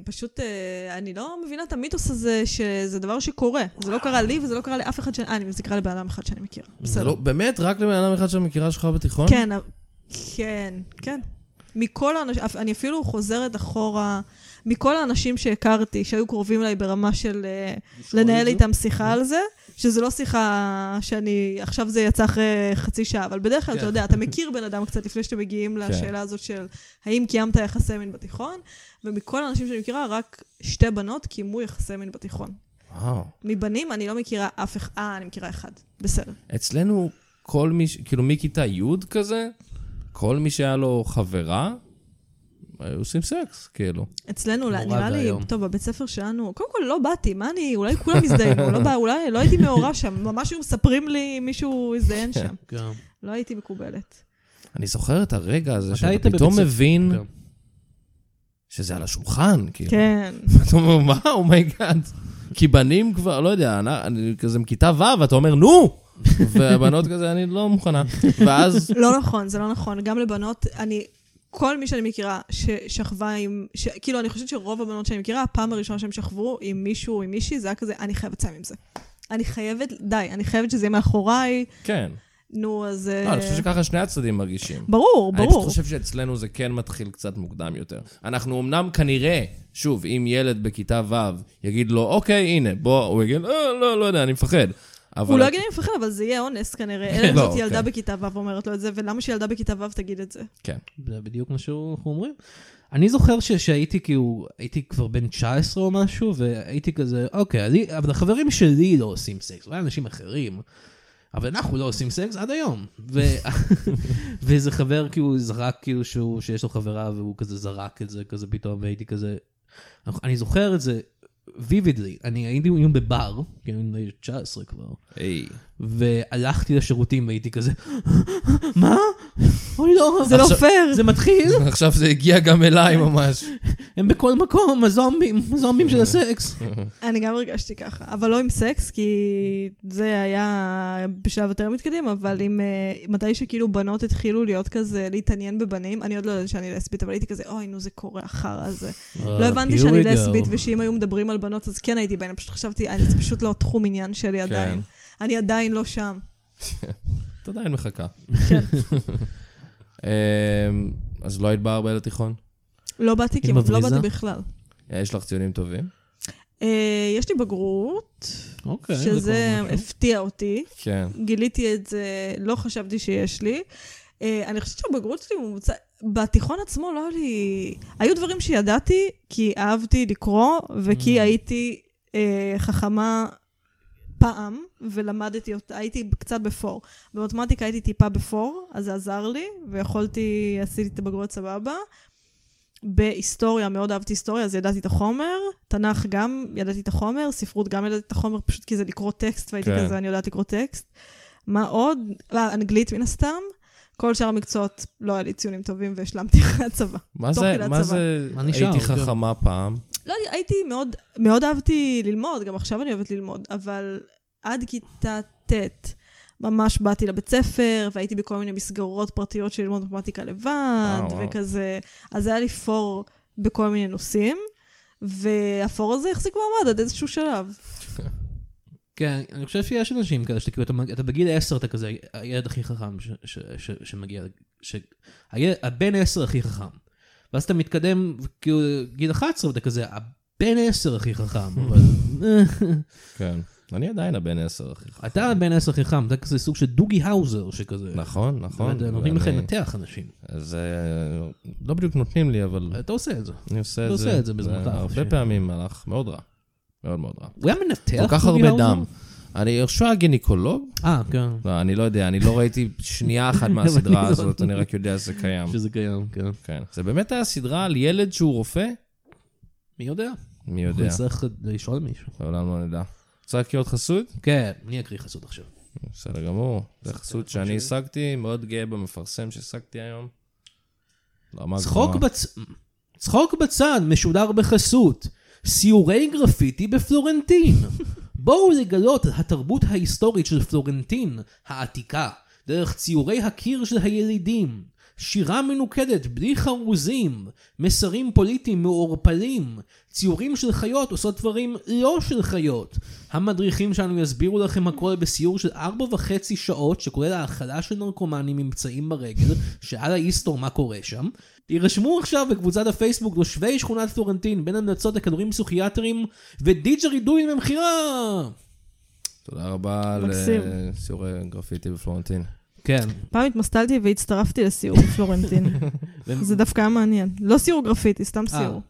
S4: פשוט, אה, אני לא מבינה את המיתוס הזה, שזה דבר שקורה. זה לא קרה לי וזה לא קרה לאף אחד ש... אה, אני מזיקה לבן אדם אחד שאני מכירה.
S2: זה
S4: בסדר.
S2: לא, באמת? רק לבן אדם אחד שמכירה שלך בתיכון?
S4: כן, אבל- כן, כן. מכל האנשים, אפ- אני אפילו חוזרת אחורה, מכל האנשים שהכרתי, שהיו קרובים אליי ברמה של אה, לנהל איתם שיחה על זה, שזה לא שיחה שאני, עכשיו זה יצא אחרי חצי שעה, אבל בדרך כלל,
S3: כן.
S4: אתה יודע, אתה מכיר בן אדם קצת לפני שאתם מגיעים לשאלה הזאת של האם קיימת יחסי מין בתיכון, ומכל האנשים שאני מכירה, רק שתי בנות קיימו יחסי מין בתיכון.
S2: וואו.
S4: מבנים אני לא מכירה אף אחד, אה, אני מכירה אחד, בסדר.
S2: אצלנו כל מי, ש- כאילו מכיתה י' כזה, כל מי שהיה לו חברה, היו עושים סקס, כאילו.
S4: אצלנו,
S3: נורא
S4: נראה לי,
S3: ואיום.
S4: טוב, בבית ספר שלנו, קודם כל לא באתי, מה אני, אולי כולם הזדיינו, לא בא, אולי לא הייתי מעורה שם, ממש היו מספרים לי, מישהו הזדיין שם.
S3: כן.
S4: לא הייתי מקובלת.
S2: אני זוכר את הרגע הזה
S3: אתה היית
S2: שאתה
S3: בבית
S2: פתאום
S3: ספר,
S2: מבין
S3: כן.
S2: שזה על השולחן, כאילו.
S4: כן.
S2: אתה אומר, מה, אומייגאד. כי בנים כבר, לא יודע, אני- אני כזה מכיתה ו', ואתה אומר, נו! והבנות כזה, אני לא מוכנה. ואז,
S4: לא נכון, זה לא נכון. גם לבנות, אני, כל מי שאני מכירה ששכבה עם, ש- כאילו, אני חושבת שרוב הבנות שאני מכירה, הפעם הראשונה שהם שכבו עם מישהו או עם מישהי, זה היה כזה, אני חייבת לסיים עם זה. אני חייבת, די, אני חייבת שזה יהיה מאחוריי,
S2: כן.
S4: נו, אז...
S2: לא,
S4: אה,
S2: אני חושב שככה שני הצדדים מרגישים.
S4: ברור,
S2: אני פשוט
S4: ברור.
S2: חושב שאצלנו זה כן מתחיל קצת מוקדם יותר. אנחנו אמנם כנראה, שוב, אם ילד בכיתה ו' יגיד לו, אוקיי, הנה, בוא, הוא יגיד, לא, לא, לא יודע, אני מפחד. אבל...
S4: הוא לא יגיד לי מפחד, אבל זה יהיה אונס כנראה. אלא אם
S2: לא,
S4: זאת ילדה
S2: אוקיי.
S4: בכיתה ו' אומרת לו את זה, ולמה שילדה בכיתה ו' תגיד את זה?
S2: כן.
S3: זה בדיוק מה שאנחנו אומרים. אני זוכר ש- שהייתי כאילו, הייתי כבר בן 19 או משהו, והייתי כזה, אוקיי, אני, אבל החברים שלי לא עושים סקס, אולי אנשים אחרים, אבל אנחנו לא עושים סקס עד היום. ו, ואיזה חבר כאילו זרק כאילו שהוא, שיש לו חברה, והוא כזה זרק את זה כזה פתאום, והייתי כזה, אני זוכר את זה vividly, אני הייתי היום בבר, כאילו אני בן 19 כבר,
S2: היי.
S3: והלכתי לשירותים והייתי כזה, מה? אוי לא,
S4: זה לא
S2: עכשיו-
S4: פייר.
S3: זה מתחיל.
S2: עכשיו זה הגיע גם אליי ממש.
S3: הם בכל מקום, הזומבים, הזומבים של הסקס.
S4: אני גם הרגשתי ככה, אבל לא עם סקס, כי זה היה בשלב יותר מתקדם, אבל עם אה, מתי שכאילו בנות התחילו להיות כזה, להתעניין בבנים, אני עוד לא יודעת שאני לסבית, אבל הייתי כזה, אוי, נו, זה קורה אחר הזה.
S2: אה,
S3: אה,
S4: לא הבנתי שאני לסבית, ושאם היו מדברים על בנות, אז כן הייתי בהן, פשוט חשבתי, "אה, זה פשוט לא תחום עניין
S2: כן.
S4: שלי עדיין. אני עדיין לא שם.
S2: את עדיין מחכה.
S4: כן.
S2: אמ, אז לא היית באה הרבה לתיכון?
S4: לא באתי
S3: היא
S4: כמעט, לא
S3: מבריזה?
S4: באתי בכלל.
S2: אה, יש לך ציונים טובים?
S4: אה, יש לי בגרות,
S3: אוקיי, זה
S4: שזה
S3: כבר משהו.
S4: הפתיע אותי.
S2: כן.
S4: גיליתי את זה, לא חשבתי שיש לי. אה, אני חושבת שהבגרות שלי ממוצעת, בתיכון עצמו לא היה לי... היו דברים שידעתי, כי אהבתי לקרוא, וכי
S3: Mm.
S4: הייתי אה, חכמה פעם, ולמדתי אותה, הייתי קצת בפור. במתמטיקה הייתי טיפה בפור, אז זה עזר לי, ויכולתי, עשיתי את הבגרויות סבבה. בהיסטוריה, מאוד אהבתי היסטוריה, אז ידעתי את החומר. תנ"ך גם ידעתי את החומר, ספרות גם ידעתי את החומר, פשוט כי זה לקרוא טקסט, והייתי
S2: כן.
S4: כזה, אני יודעת לקרוא טקסט. מה עוד? אה, אנגלית מן הסתם. כל שאר המקצועות לא היה לי ציונים טובים והשלמתי אחרי הצבא.
S2: מה
S4: תוך
S2: זה,
S4: כדי
S2: מה
S4: הצבא.
S2: זה,
S3: מה נשאר?
S2: הייתי
S3: כן.
S2: חכמה פעם.
S4: לא, יודע, הייתי מאוד, מאוד אהבתי ללמוד, גם עכשיו אני אוהבת ללמוד, אבל עד כיתה ט' ממש באתי לבית ספר, והייתי בכל מיני מסגרות פרטיות של
S3: אה,
S4: ללמוד מתמטיקה לבד,
S2: וואו, וואו.
S4: וכזה, אז היה לי פור בכל מיני נושאים. והפור הזה החזיק מעמד עד איזשהו שלב.
S3: כן, אני חושב שיש אנשים כאלה שאתה כאילו, אתה מג- אתה בגיל 10 אתה כזה הילד הכי חכם ש- ש- ש- שמגיע, ש- הילד- הבן 10 הכי חכם. ואז אתה מתקדם, כאילו, גיל 11 ואתה כזה, הבן 10 הכי חכם. אבל אה,
S2: כן. אני עדיין הבן עשר, אחי.
S3: אתה הבן 10 הכי חכם, אתה כזה סוג של דוגי האוזר שכזה.
S2: נכון, נכון.
S3: ואתה- לא נותנים לך
S2: ואני-
S3: לנתח אנשים.
S2: אז אה, לא בדיוק נותנים לי, אבל
S3: אתה עושה את זה.
S2: אני עושה את
S3: אתה
S2: זה.
S3: עושה את זה בזמנך החופשי.
S2: הרבה פעמים הלך מאוד רע. מאוד מאוד רע.
S3: הוא היה מנתח?
S2: כל כך
S3: דוגי
S2: הרבה
S3: האוזר?
S2: דם. אני הרשוע גינקולוג?
S3: אה, כן.
S2: לא, אני לא יודע, אני לא ראיתי שנייה אחת
S3: אבל
S2: מהסדרה
S3: אני
S2: הזאת,
S3: לא-
S2: אני רק יודע שזה קיים.
S3: שזה קיים, כן.
S2: כן. זה באמת היה סדרה על ילד שהוא רופא?
S3: מי יודע?
S2: מי יודע,
S3: נצטרך לשאול מישהו.
S2: לעולם לא נדע. רוצה להקריא עוד חסות?
S3: כן, אני אקריא חסות עכשיו.
S2: בסדר גמור. זה חסות שאני השגתי, מאוד גאה במפרסם שהשגתי היום. לא, רמה
S3: צחוק,
S2: גבוהה.
S3: בצ... צחוק בצד משודר בחסות. סיורי גרפיטי בפלורנטין. בואו לגלות את התרבות ההיסטורית של פלורנטין העתיקה, דרך ציורי הקיר של הילידים, שירה מנוקדת בלי חרוזים, מסרים פוליטיים מעורפלים, ציורים של חיות עושות דברים לא של חיות. המדריכים שלנו יסבירו לכם הכל בסיור של ארבע וחצי שעות, שכולל האכלה של נרקומנים נמצאים ברגל, שעל האיסטור מה קורה שם. תירשמו עכשיו בקבוצת הפייסבוק תושבי שכונת פלורנטין בין המלצות לכדורים פסיכיאטרים ודיג'רידואים למכירה!
S2: תודה רבה על
S4: מקסים.
S2: אה, סיורי גרפיטי בפלורנטין.
S3: כן.
S4: פעם התמסטלתי והצטרפתי לסיור בפלורנטין. זה דווקא היה מעניין. לא סיור גרפיטי, סתם
S3: אה.
S4: סיור.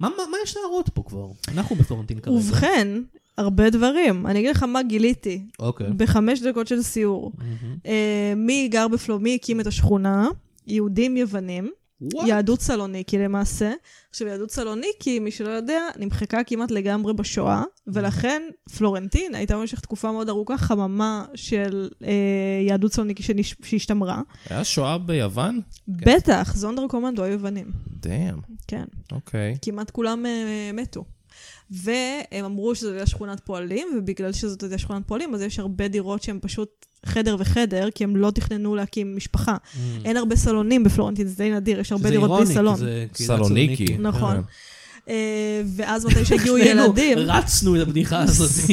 S3: מה, מה, מה יש להראות פה כבר? אנחנו בפלורנטין כרגע.
S4: ובכן, הרבה דברים. אני אגיד לך מה גיליתי
S3: אוקיי.
S4: בחמש דקות של סיור.
S3: מהמם.
S4: אה, מי גר בפלו, מי הקים את השכונה? יהודים יוונים,
S3: וואט?
S4: יהדות סלוניקי למעשה. עכשיו, יהדות סלוניקי, מי שלא יודע, נמחקה כמעט לגמרי בשואה, ולכן פלורנטין הייתה במשך תקופה מאוד ארוכה חממה של אה, יהדות סלוניקי שנש... שהשתמרה.
S2: היה שואה ביוון?
S4: בטח, זונדר קומנדו היו יוונים,
S2: דאם,
S4: כן.
S2: אוקיי.
S4: כמעט כולם אה, מתו. והם אמרו שזו הייתה שכונת פועלים, ובגלל שזאת הייתה שכונת פועלים, אז יש הרבה דירות שהן פשוט חדר וחדר, כי הם לא תכננו להקים משפחה.
S3: Mm.
S4: אין הרבה סלונים בפלורנטין, זה די נדיר, יש הרבה
S3: שזה
S4: דירות
S3: אירוני,
S4: בלי
S3: כי
S4: סלון.
S3: זה כאילו קהילה
S2: סלוניקי.
S3: סלוניקית.
S4: נכון.
S2: כן.
S4: אה, ואז מתי שהגיעו
S3: שנינו
S4: ילדים,
S3: רצנו את הבדיחה הזאת,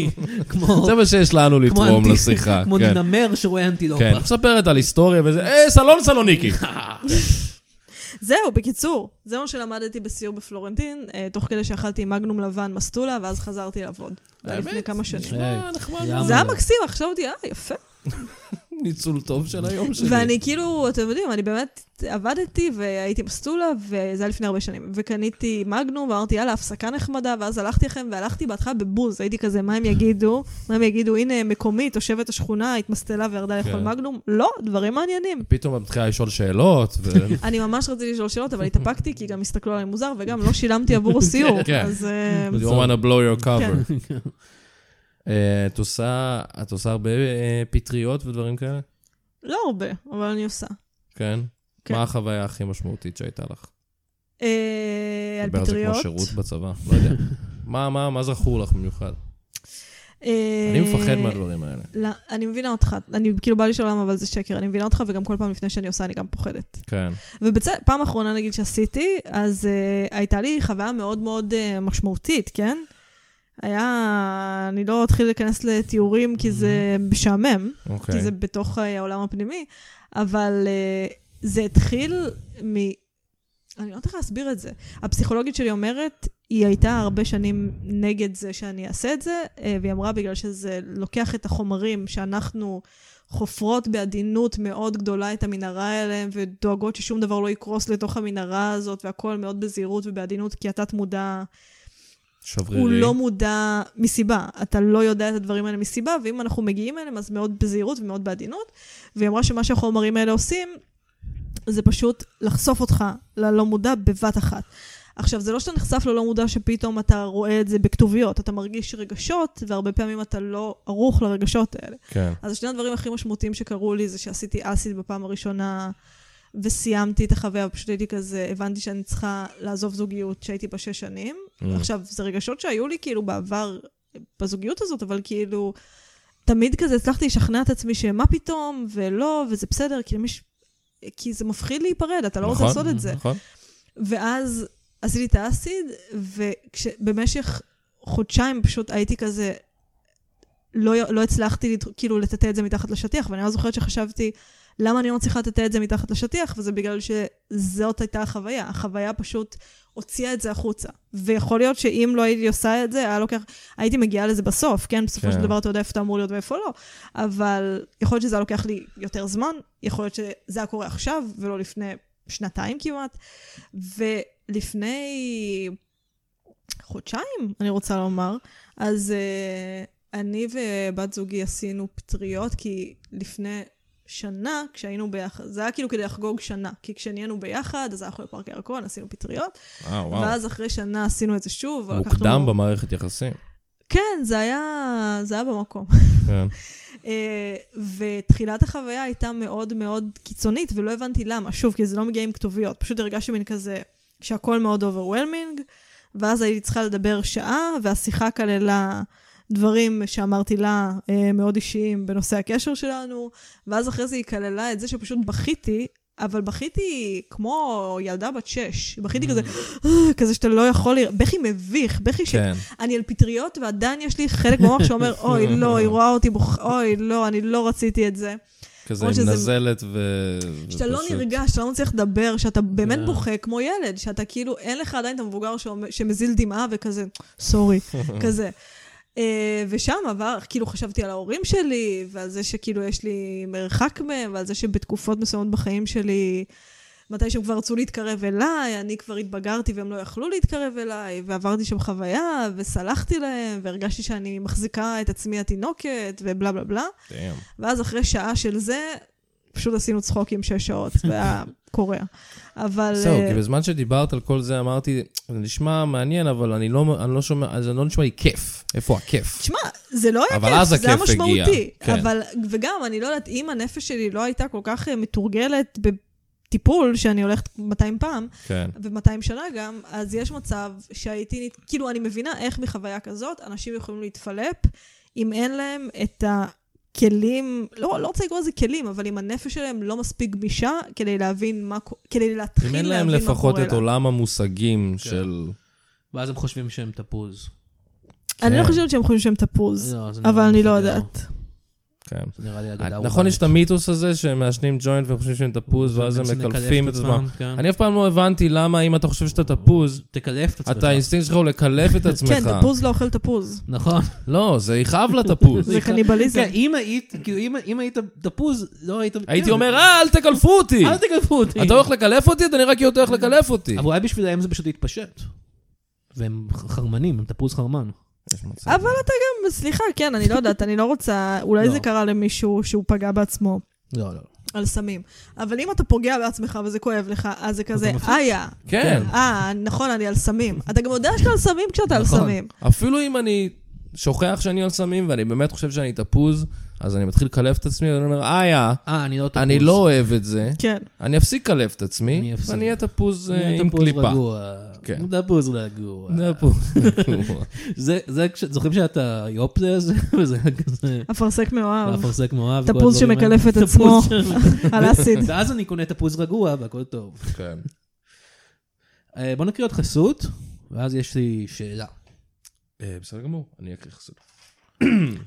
S3: כמו
S2: כן. זה מה שיש לנו
S3: כמו
S2: לתרום
S3: אנטי-
S2: לשיחה.
S3: כמו
S2: כן.
S3: נמר שרואה אנטילופה.
S2: כן, מספרת על היסטוריה וזה, אה, סלון סלוניקי.
S4: זהו, בקיצור, זה מה שלמדתי בסיור בפלורנטין, אה, תוך כדי שאכלתי מגנום לבן מסטולה, ואז חזרתי לעבוד. זה היה
S2: באמת?
S4: לפני כמה שנים.
S2: אה, נחמד.
S3: ים.
S4: זה היה מקסים, עכשיו אותי, אה, יפה.
S2: ניצול טוב של היום שלי.
S4: ואני כאילו, אתם יודעים, אני באמת עבדתי והייתי מסטולה, וזה היה לפני הרבה שנים. וקניתי מגנום, ואמרתי, יאללה, הפסקה נחמדה, ואז הלכתי לכם, והלכתי בהתחלה בבוז, הייתי כזה, מה הם יגידו? מה הם יגידו, הנה, מקומית, תושבת השכונה, התמסטלה וירדה לאכול
S2: כן.
S4: מגנום? לא, דברים מעניינים.
S2: פתאום את מתחילה לשאול שאלות, ו...
S4: אני ממש רציתי לשאול שאלות, אבל התאפקתי, כי גם הסתכלו עליי מוזר, וגם לא שילמתי עבור הסיור.
S2: כן.
S4: אז אה,
S2: You don't want to blow your
S4: כן.
S2: cover. אה, את עושה, את עושה הרבה אה, פטריות ודברים כאלה?
S4: לא הרבה, אבל אני עושה.
S2: כן?
S4: כן.
S2: מה החוויה הכי משמעותית שהייתה לך?
S4: אה, על
S2: דבר זה כמו
S4: פטריות.
S2: שירות בצבא, לא יודע. מה, מה, מה זכור לך במיוחד?
S4: אה,
S2: אני מפחד מהדברים האלה.
S4: לא, אני מבינה אותך, אני כאילו בא לשאול למה, אבל זה שקר, אני מבינה אותך, וגם כל פעם לפני שאני עושה, אני גם פוחדת.
S2: כן.
S4: ופעם אחרונה, נגיד, שעשיתי, אז uh, הייתה לי חוויה מאוד מאוד uh, משמעותית, כן? היה, אני לא אתחיל להיכנס לתיאורים, כי זה משעמם, okay. כי
S2: אוקיי.
S4: זה בתוך uh, העולם הפנימי, אבל uh, זה התחיל מ... אני לא יודעת איך להסביר את זה. הפסיכולוגית שלי אומרת, היא הייתה הרבה שנים נגד זה שאני אעשה את זה, אה, והיא אמרה בגלל שזה לוקח את החומרים שאנחנו חופרות בעדינות מאוד גדולה את המנהרה אליהם, ודואגות ששום דבר לא יקרוס לתוך המנהרה הזאת, והכל מאוד בזהירות ובעדינות, כי התת מודע
S2: שברירי.
S4: הוא לא מודע מסיבה. אתה לא יודע את הדברים האלה מסיבה, ואם אנחנו מגיעים אליהם, אז מאוד בזהירות ומאוד בעדינות. והיא אמרה שמה שהחומרים האלה עושים, זה פשוט לחשוף אותך ללא מודע בבת אחת. עכשיו, זה לא שאתה נחשף ללא מודע שפתאום אתה רואה את זה בכתוביות, אתה מרגיש רגשות, והרבה פעמים אתה לא ערוך לרגשות האלה.
S2: כן.
S4: אז שני הדברים הכי משמעותיים שקרו לי זה שעשיתי אסיד בפעם הראשונה וסיימתי את החוויה, ופשוט הייתי כזה, הבנתי שאני צריכה לעזוב זוגיות שהייתי בה שש שנים.
S2: Mm.
S4: עכשיו, זה רגשות שהיו לי כאילו בעבר בזוגיות הזאת, אבל כאילו, תמיד כזה הצלחתי לשכנע את עצמי שמה פתאום, ולא, וזה בסדר, כי, למי ש... כי זה מפחיד להיפרד, אתה לא רוצה
S2: נכון,
S4: לעשות את זה.
S2: נכון.
S4: ואז עשיתי את האסיד, ובמשך חודשיים פשוט הייתי כזה, לא, לא הצלחתי לד- כאילו לטאטא את זה מתחת לשטיח, ואני לא זוכרת שחשבתי, למה אני לא מצליחה לטאטא את זה מתחת לשטיח? וזה בגלל שזאת הייתה החוויה. החוויה פשוט הוציאה את זה החוצה. ויכול להיות שאם לא הייתי עושה את זה, היה לוקח... הייתי מגיעה לזה בסוף, כן? בסופו
S2: כן.
S4: של דבר אתה יודע איפה אתה אמור להיות ואיפה לא, אבל יכול להיות שזה היה לוקח לי יותר זמן, יכול להיות שזה היה קורה עכשיו, ולא לפני שנתיים כמעט. ולפני חודשיים, אני רוצה לומר, אז uh, אני ובת זוגי עשינו פטריות, כי לפני שנה, כשהיינו ביחד, זה היה כאילו כדי לחגוג שנה, כי כשנהיינו ביחד, אז הלכנו לפארק הירקון, עשינו פטריות,
S2: אה,
S4: וואו.
S2: וואו.
S4: ואז אחרי שנה עשינו את זה שוב.
S2: מוקדם במערכת יחסים.
S4: כן, זה היה, זה היה במקום.
S2: כן.
S4: אה, ותחילת החוויה הייתה מאוד מאוד קיצונית, ולא הבנתי למה. שוב, כי זה לא מגיע עם כתוביות. פשוט הרגשתי מין כזה, שהכל מאוד אוברוולמינג, ואז הייתי צריכה לדבר שעה, והשיחה כללה דברים שאמרתי לה אה, מאוד אישיים בנושא הקשר שלנו, ואז אחרי זה היא כללה את זה שפשוט בכיתי. אבל בכיתי כמו ילדה בת שש, בכיתי כזה, כזה שאתה לא יכול, לרא- בכי מביך, בכי ש...
S2: כן.
S4: אני על פטריות, ועדיין יש לי חלק במוח שאומר, אוי, לא, היא רואה אותי בוח... אוי, לא, אני לא רציתי את זה.
S2: כזה
S4: או
S2: עם
S4: שזה-
S2: נזלת ו...
S4: שאתה לא
S2: ופשוט-
S4: נרגש, שאתה לא מצליח לדבר, שאתה באמת
S3: כן.
S4: בוכה כמו ילד, שאתה כאילו, אין לך עדיין את המבוגר שאומר- שמזיל דמעה וכזה, סורי, כזה. אה, ושם עבר, כאילו חשבתי על ההורים שלי, ועל זה שכאילו יש לי מרחק מהם, ועל זה שבתקופות מסוימות בחיים שלי, מתי שהם כבר רצו להתקרב אליי, אני כבר התבגרתי והם לא יכלו להתקרב אליי, ועברתי שם חוויה, וסלחתי להם, והרגשתי שאני מחזיקה את עצמי התינוקת, ובלה בלה בלה.
S2: Damn.
S4: ואז אחרי שעה של זה, פשוט עשינו צחוקים שש שעות, והיה קורע. אבל...
S2: זהו,
S4: אה,
S2: כי בזמן שדיברת על כל זה אמרתי, זה נשמע מעניין, אבל אני לא, אני לא שומע, אז אני לא נשמע לי כיף. איפה הכיף?
S4: תשמע, זה לא היה
S2: אבל
S4: כיף,
S2: אז
S4: זה היה
S2: הכיף הגיע,
S4: משמעותי.
S2: כן.
S4: אבל, וגם, אני לא יודעת, אם הנפש שלי לא הייתה כל כך אה, מתורגלת בטיפול, שאני הולכת 200 פעם,
S2: כן.
S4: ו-200 שנה גם, אז יש מצב שהייתי, נת- כאילו, אני מבינה איך מחוויה כזאת אנשים יכולים להתפלפ, אם אין להם את ה... כלים, לא, לא רוצה לקרוא לזה כלים, אבל אם הנפש שלהם לא מספיק גמישה כדי להבין מה, קו- כדי להתחיל
S2: אם
S4: להבין
S2: אין
S4: מה קורה
S2: להם לפחות את
S4: לה.
S2: עולם המושגים של...
S3: ואז הם חושבים שהם תפוז.
S4: אני לא
S2: כן.
S4: חושבת שהם חושבים שהם תפוז,
S3: לא, זה נראה
S4: אבל אני לא
S3: מפגר.
S4: יודעת.
S2: כן.
S3: זה נראה לי אגדה
S2: נכון, יש את המיתוס הזה שהם מעשנים ג'וינט והם חושבים שהם תפוז, ואז הם מקלפים את עצמם. אני אף פעם לא הבנתי למה אם אתה חושב שאתה תפוז,
S3: כן. תקלף את עצמך.
S2: אתה, האינסטינקט שלך הוא לקלף את עצמך.
S4: כן, תפוז לא אוכל תפוז.
S3: נכון.
S2: לא, זה יכאב לתפוז.
S4: זה קניבליזם.
S3: כן, אם היית, כאילו, אם- אם היית תפוז, לא היית...
S2: הייתי
S3: כן,
S2: אומר, אה, אל תקלפו אותי!
S3: אל תקלפו אותי.
S2: אתה לא הולך לקלף אותי? אתה נראה כאילו אתה הולך לקלף אותי.
S3: אבל אולי בשבילם זה פשוט להתפשט. והם ח- חרמנים, הם תפוז חרמן.
S2: יש מצב.
S4: אבל אתה גם, סליחה, כן, אני לא יודעת, אני לא רוצה, אולי
S3: לא.
S4: זה קרה למישהו שהוא פגע בעצמו
S3: לא, לא.
S4: על סמים. אבל אם אתה פוגע בעצמך וזה כואב לך, אז זה כזה,
S3: מפסיק.
S4: איה,
S2: כן.
S4: אה, נכון, אני על סמים. אתה גם יודע שאתה על סמים כשאתה על
S3: נכון.
S4: סמים.
S2: אפילו אם אני שוכח שאני על סמים ואני באמת חושב שאני תפוז, אז אני מתחיל לקלף את עצמי ואני אומר, איה,
S3: אה, אני לא תפוז.
S2: אני לא אוהב את זה,
S4: כן.
S2: אני אפסיק לקלף את עצמי,
S3: אני אפסיק.
S2: ואני אהיה תפוז
S3: אני
S2: אה, עם
S3: תפוז
S2: קליפה.
S3: רגוע.
S2: כן.
S3: תפוז רגוע.
S2: זה הפוז רגוע.
S3: זה, זה, כש- זוכרים שהיה את היופלה הזה? וזה היה כזה...
S4: אפרסק מאוהב.
S3: אפרסק מאוהב. כל
S4: תפוז
S3: הדברים האלה.
S4: שמקלף אה, את
S3: תפוז
S4: עצמו.
S3: ש-
S4: על אסיד.
S3: ואז אני קונה תפוז רגוע והכל טוב.
S2: כן.
S3: אה, בוא נקריא עוד חסות, ואז יש לי שאלה.
S2: אה, בסדר גמור, אני אקריא חסות.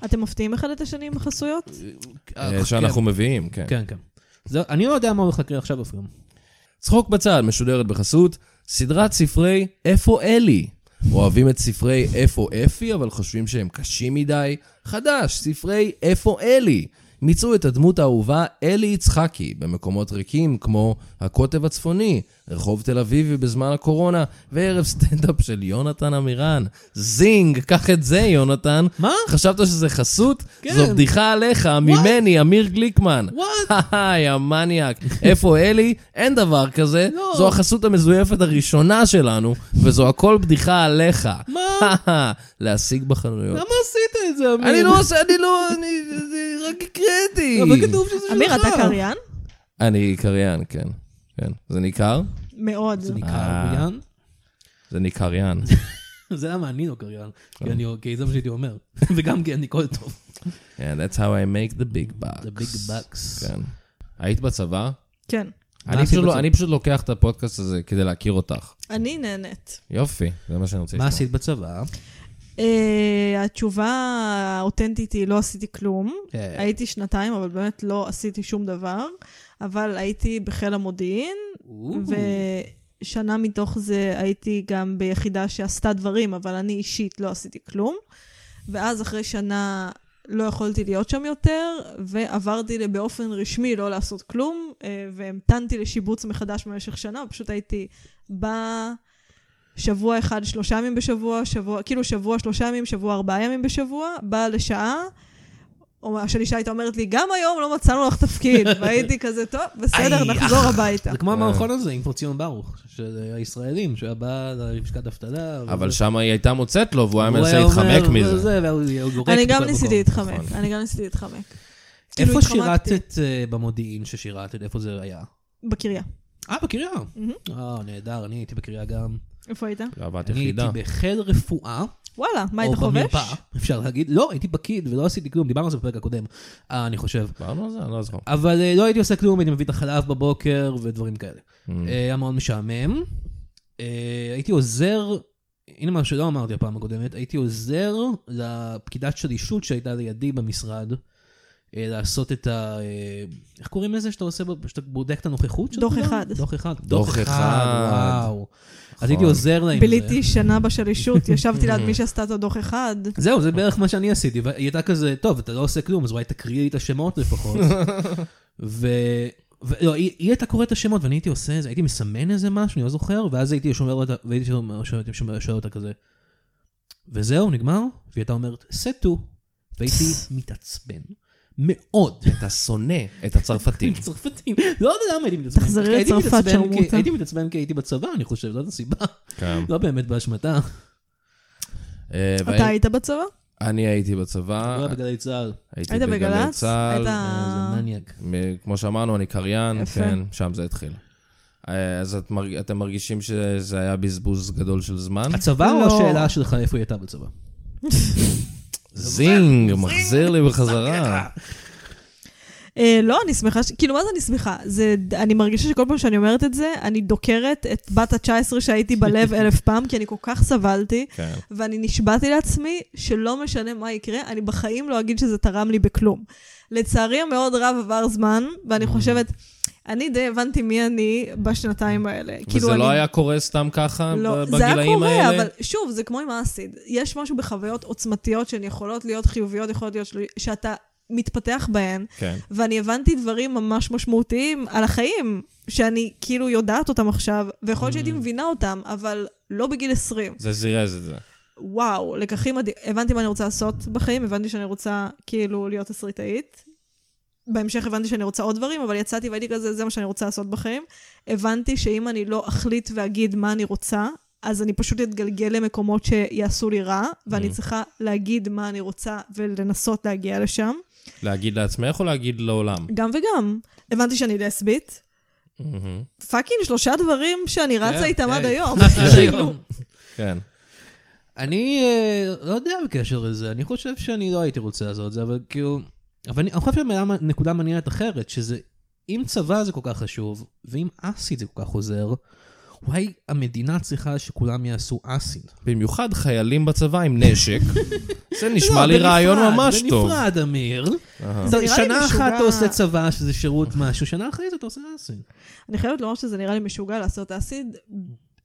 S4: אתם מפתיעים אחד את השני עם החסויות?
S2: אה, שאנחנו מביאים, כן.
S3: כן, כן. זה- אני לא יודע מה הולך לקרוא עכשיו אפילו.
S2: צחוק בצד משודרת בחסות, סדרת ספרי איפה אלי. אוהבים את ספרי איפה אפי, אבל חושבים שהם קשים מדי? חדש, ספרי איפה אלי. מיצרו את הדמות האהובה אלי יצחקי במקומות ריקים כמו הקוטב הצפוני, רחוב תל אביבי בזמן הקורונה, וערב סטנדאפ של יונתן עמירן. זינג, קח את זה, יונתן.
S3: מה?
S2: חשבת שזה חסות?
S3: כן.
S2: זו בדיחה עליך, ממני, אמיר גליקמן.
S3: וואט?
S2: היי, המניאק. איפה אלי? אין דבר כזה.
S3: לא.
S2: זו החסות המזויפת הראשונה שלנו, וזו הכל בדיחה עליך.
S4: אה.
S3: לא.
S2: מה? להשיג בחנויות.
S3: למה עשית את זה, אמיר?
S2: אני לא עושה, אני לא, אני אני רק הקראתי.
S3: לא, אבל כתוב שזה שלך.
S4: אמיר, אתה קריין?
S2: אני קריין, כן. כן. זה ניכר?
S4: מאוד.
S3: זה נקרא
S2: אה.
S3: קריין?
S2: זה ניכריין.
S3: זה למה אני לא קריין.
S2: אה.
S3: כי אני- כי זה מה שהייתי אומר. וגם כי אני כל טוב.
S2: Yeah, that's how I make the big bucks.
S3: The big bucks.
S2: כן. היית בצבא?
S4: כן.
S2: אני
S3: עשית
S2: פשוט לא-
S3: בצום?
S2: אני פשוט לוקח את הפודקאסט הזה כדי להכיר אותך.
S4: אני נהנית.
S2: יופי, זה מה שאני רוצה
S3: מה
S2: לשמוע.
S3: עשית בצבא?
S4: אה, התשובה האותנטית היא לא עשיתי כלום.
S3: אה.
S4: הייתי שנתיים, אבל באמת לא עשיתי שום דבר. אבל הייתי בחיל המודיעין,
S3: אה,
S4: ושנה מתוך זה הייתי גם ביחידה שעשתה דברים, אבל אני אישית לא עשיתי כלום. ואז אחרי שנה לא יכולתי להיות שם יותר, ועברתי לבאופן רשמי לא לעשות כלום, אה, והמתנתי לשיבוץ מחדש במשך שנה, פשוט הייתי באה שבוע אחד שלושה ימים בשבוע, שבוע, כאילו שבוע שלושה ימים, שבוע ארבעה ימים בשבוע, באה לשעה. או השני שהייתה אומרת לי, גם היום לא מצאנו לך תפקיד, והייתי כזה, טוב, בסדר,
S3: איי,
S4: נחזור הביתה.
S3: זה כמו
S2: אה.
S3: המערכון הזה עם פורציון ברוך, של הישראלים, שהיה בא ללשכת אבטלה.
S2: אבל
S3: וזה.
S2: שם היא הייתה מוצאת לו, והוא היה מנסה
S3: הוא היה
S2: להתחמק
S3: אומר,
S2: מזה.
S3: וזה, והוא היה גורק
S4: אני גם
S3: בכל
S4: ניסיתי
S3: אוקיי, מקום. נכון.
S4: להתחמק, אני גם ניסיתי להתחמק. כאילו,
S3: איפה
S4: התחמקתי.
S3: שירתת אה, במודיעין ששירתת? איפה זה היה?
S4: בקריה.
S3: אה, בקריה.
S4: מהמם.
S3: אה, נעדר, אני הייתי בקריה גם.
S4: איפה היית?
S2: ועבדת
S3: אני הייתי
S2: יחידה.
S3: בחיל רפואה.
S4: וואלה, מה היית
S3: או
S4: חובש?
S3: במרפאה, אפשר להגיד. לא, הייתי פקיד ולא עשיתי כלום, דיברנו על זה בפרק הקודם, אה, אני חושב.
S2: דיברנו על זה? אני לא זוכר.
S3: אבל אה, לא הייתי עושה כלום, הייתי מביא את החלב בבוקר ודברים כאלה. אה,
S2: Mm.
S3: היה מאוד משעמם. אה, הייתי עוזר, הנה מה שלא אמרתי הפעם הקודמת, הייתי עוזר לפקידת שלישות שהייתה לידי במשרד. אה, לעשות את ה... אה, איך קוראים לזה שאתה עושה, ב- שאתה בודק את הנוכחות של
S4: דוח
S3: כולם?
S4: אחד.
S3: דוח אחד.
S2: דוח אחד. נכון.
S3: וואו. אז הייתי עוזר להם. זה.
S4: ביליתי שנה בשלישות, ישבתי ליד מי שעשתה את הדוח אחד.
S3: זהו, זה בערך מה שאני עשיתי, והיא הייתה כזה, טוב, אתה לא עושה כלום, אז אולי תקריא לי את השמות לפחות. ו... ולא, היא, היא הייתה קוראת את השמות, ואני הייתי עושה איזה, הייתי מסמן איזה משהו, אני לא זוכר, ואז הייתי שומר אותה, והייתי שומר, שואל, שואל, שואל אותה כזה, וזהו, נגמר? והיא הייתה אומרת, סטו, והייתי מתעצבן. מאוד.
S2: אתה שונא את הצרפתים.
S3: צרפתים, לא יודע למה הייתי מתעצבן.
S4: תחזרי
S3: כי הייתי
S4: לצרפת,
S3: מתעצבן
S4: שרמוטה.
S3: כי- הייתי מתעצבן כי הייתי בצבא, אני חושב, זאת הסיבה.
S2: כן.
S3: לא באמת באשמתה.
S2: אה,
S4: אתה
S2: והי-
S4: היית בצבא?
S2: אני הייתי
S3: לא
S2: בצבא,
S3: בגלי צה"ל.
S2: הייתי
S4: היית
S2: בגלי
S4: בגל"צ?
S2: צה"ל.
S4: היית-
S3: אה, זה מניאק.
S2: מ- כמו שאמרנו, אני קריין,
S4: יפה.
S2: כן, שם זה התחיל. אה, אז את מרג- אתם מרגישים שזה היה בזבוז גדול של זמן?
S3: הצבא
S4: לא.
S3: או השאלה שלך איפה היא הייתה בצבא?
S2: זינג, מחזיר לי בחזרה.
S4: אה, לא, אני שמחה, ש- כאילו, מה זה אני שמחה? זה, אני מרגישה שכל פעם שאני אומרת את זה, אני דוקרת את בת ה-19 שהייתי בלב אלף פעם, כי אני כל כך סבלתי,
S2: כן.
S4: ואני נשבעתי לעצמי שלא משנה מה יקרה, אני בחיים לא אגיד שזה תרם לי בכלום. לצערי המאוד רב עבר זמן,
S2: Mm.
S4: ואני חושבת, אני די הבנתי מי אני בשנתיים האלה. כאילו,
S2: וזה
S4: אני...
S2: לא היה קורה סתם ככה
S4: לא,
S2: ב-
S4: זה היה
S2: בגילאים
S4: קורה,
S2: האלה?
S4: אבל שוב, זה כמו עם האסיד. יש משהו בחוויות עוצמתיות שהן יכולות להיות חיוביות, יכולות להיות שלו... שאתה מתפתח בהן,
S2: כן.
S4: ואני הבנתי דברים ממש משמעותיים על החיים, שאני כאילו יודעת אותם עכשיו, ויכול להיות
S2: Mm.
S4: שהייתי מבינה אותם, אבל לא בגיל 20.
S2: זה זירז את זה.
S4: וואו, לקחים מדהים. הבנתי מה אני רוצה לעשות בחיים, הבנתי שאני רוצה כאילו להיות תסריטאית. בהמשך הבנתי שאני רוצה עוד דברים, אבל יצאתי והייתי כזה, זה מה שאני רוצה לעשות בחיים. הבנתי שאם אני לא אחליט ואגיד מה אני רוצה, אז אני פשוט אתגלגל למקומות שיעשו לי רע, ואני
S2: Mm.
S4: צריכה להגיד מה אני רוצה ולנסות להגיע לשם.
S2: להגיד לעצמך או להגיד לעולם?
S4: גם וגם. הבנתי שאני לסבית.
S2: מהמם.
S4: פאקינג שלושה דברים שאני רצה
S2: כן,
S4: איתם עד
S2: היי.
S4: היום.
S3: אה,
S2: כן.
S3: אני אה, לא יודע בקשר לזה, אני חושב שאני לא הייתי רוצה לעשות את זה, אבל כאילו... אבל אני אני חושב שנקודה מעניינת אחרת, שזה אם צבא זה כל כך חשוב, ואם אסיד זה כל כך עוזר, וואי, המדינה צריכה שכולם יעשו אסיד.
S2: במיוחד חיילים בצבא עם נשק. זה נשמע
S3: לא,
S2: לי
S3: בנפרד,
S2: רעיון ממש טוב.
S3: בנפרד, אמיר.
S2: אהה.
S3: אתה-
S4: נראה לי
S3: שנה
S4: משוגע.
S3: אחת אתה עושה צבא, שזה שירות משהו, שנה אחרי זה אתה עושה אסיד.
S4: אני חייבת לומר שזה נראה לי משוגע לעשות אסיד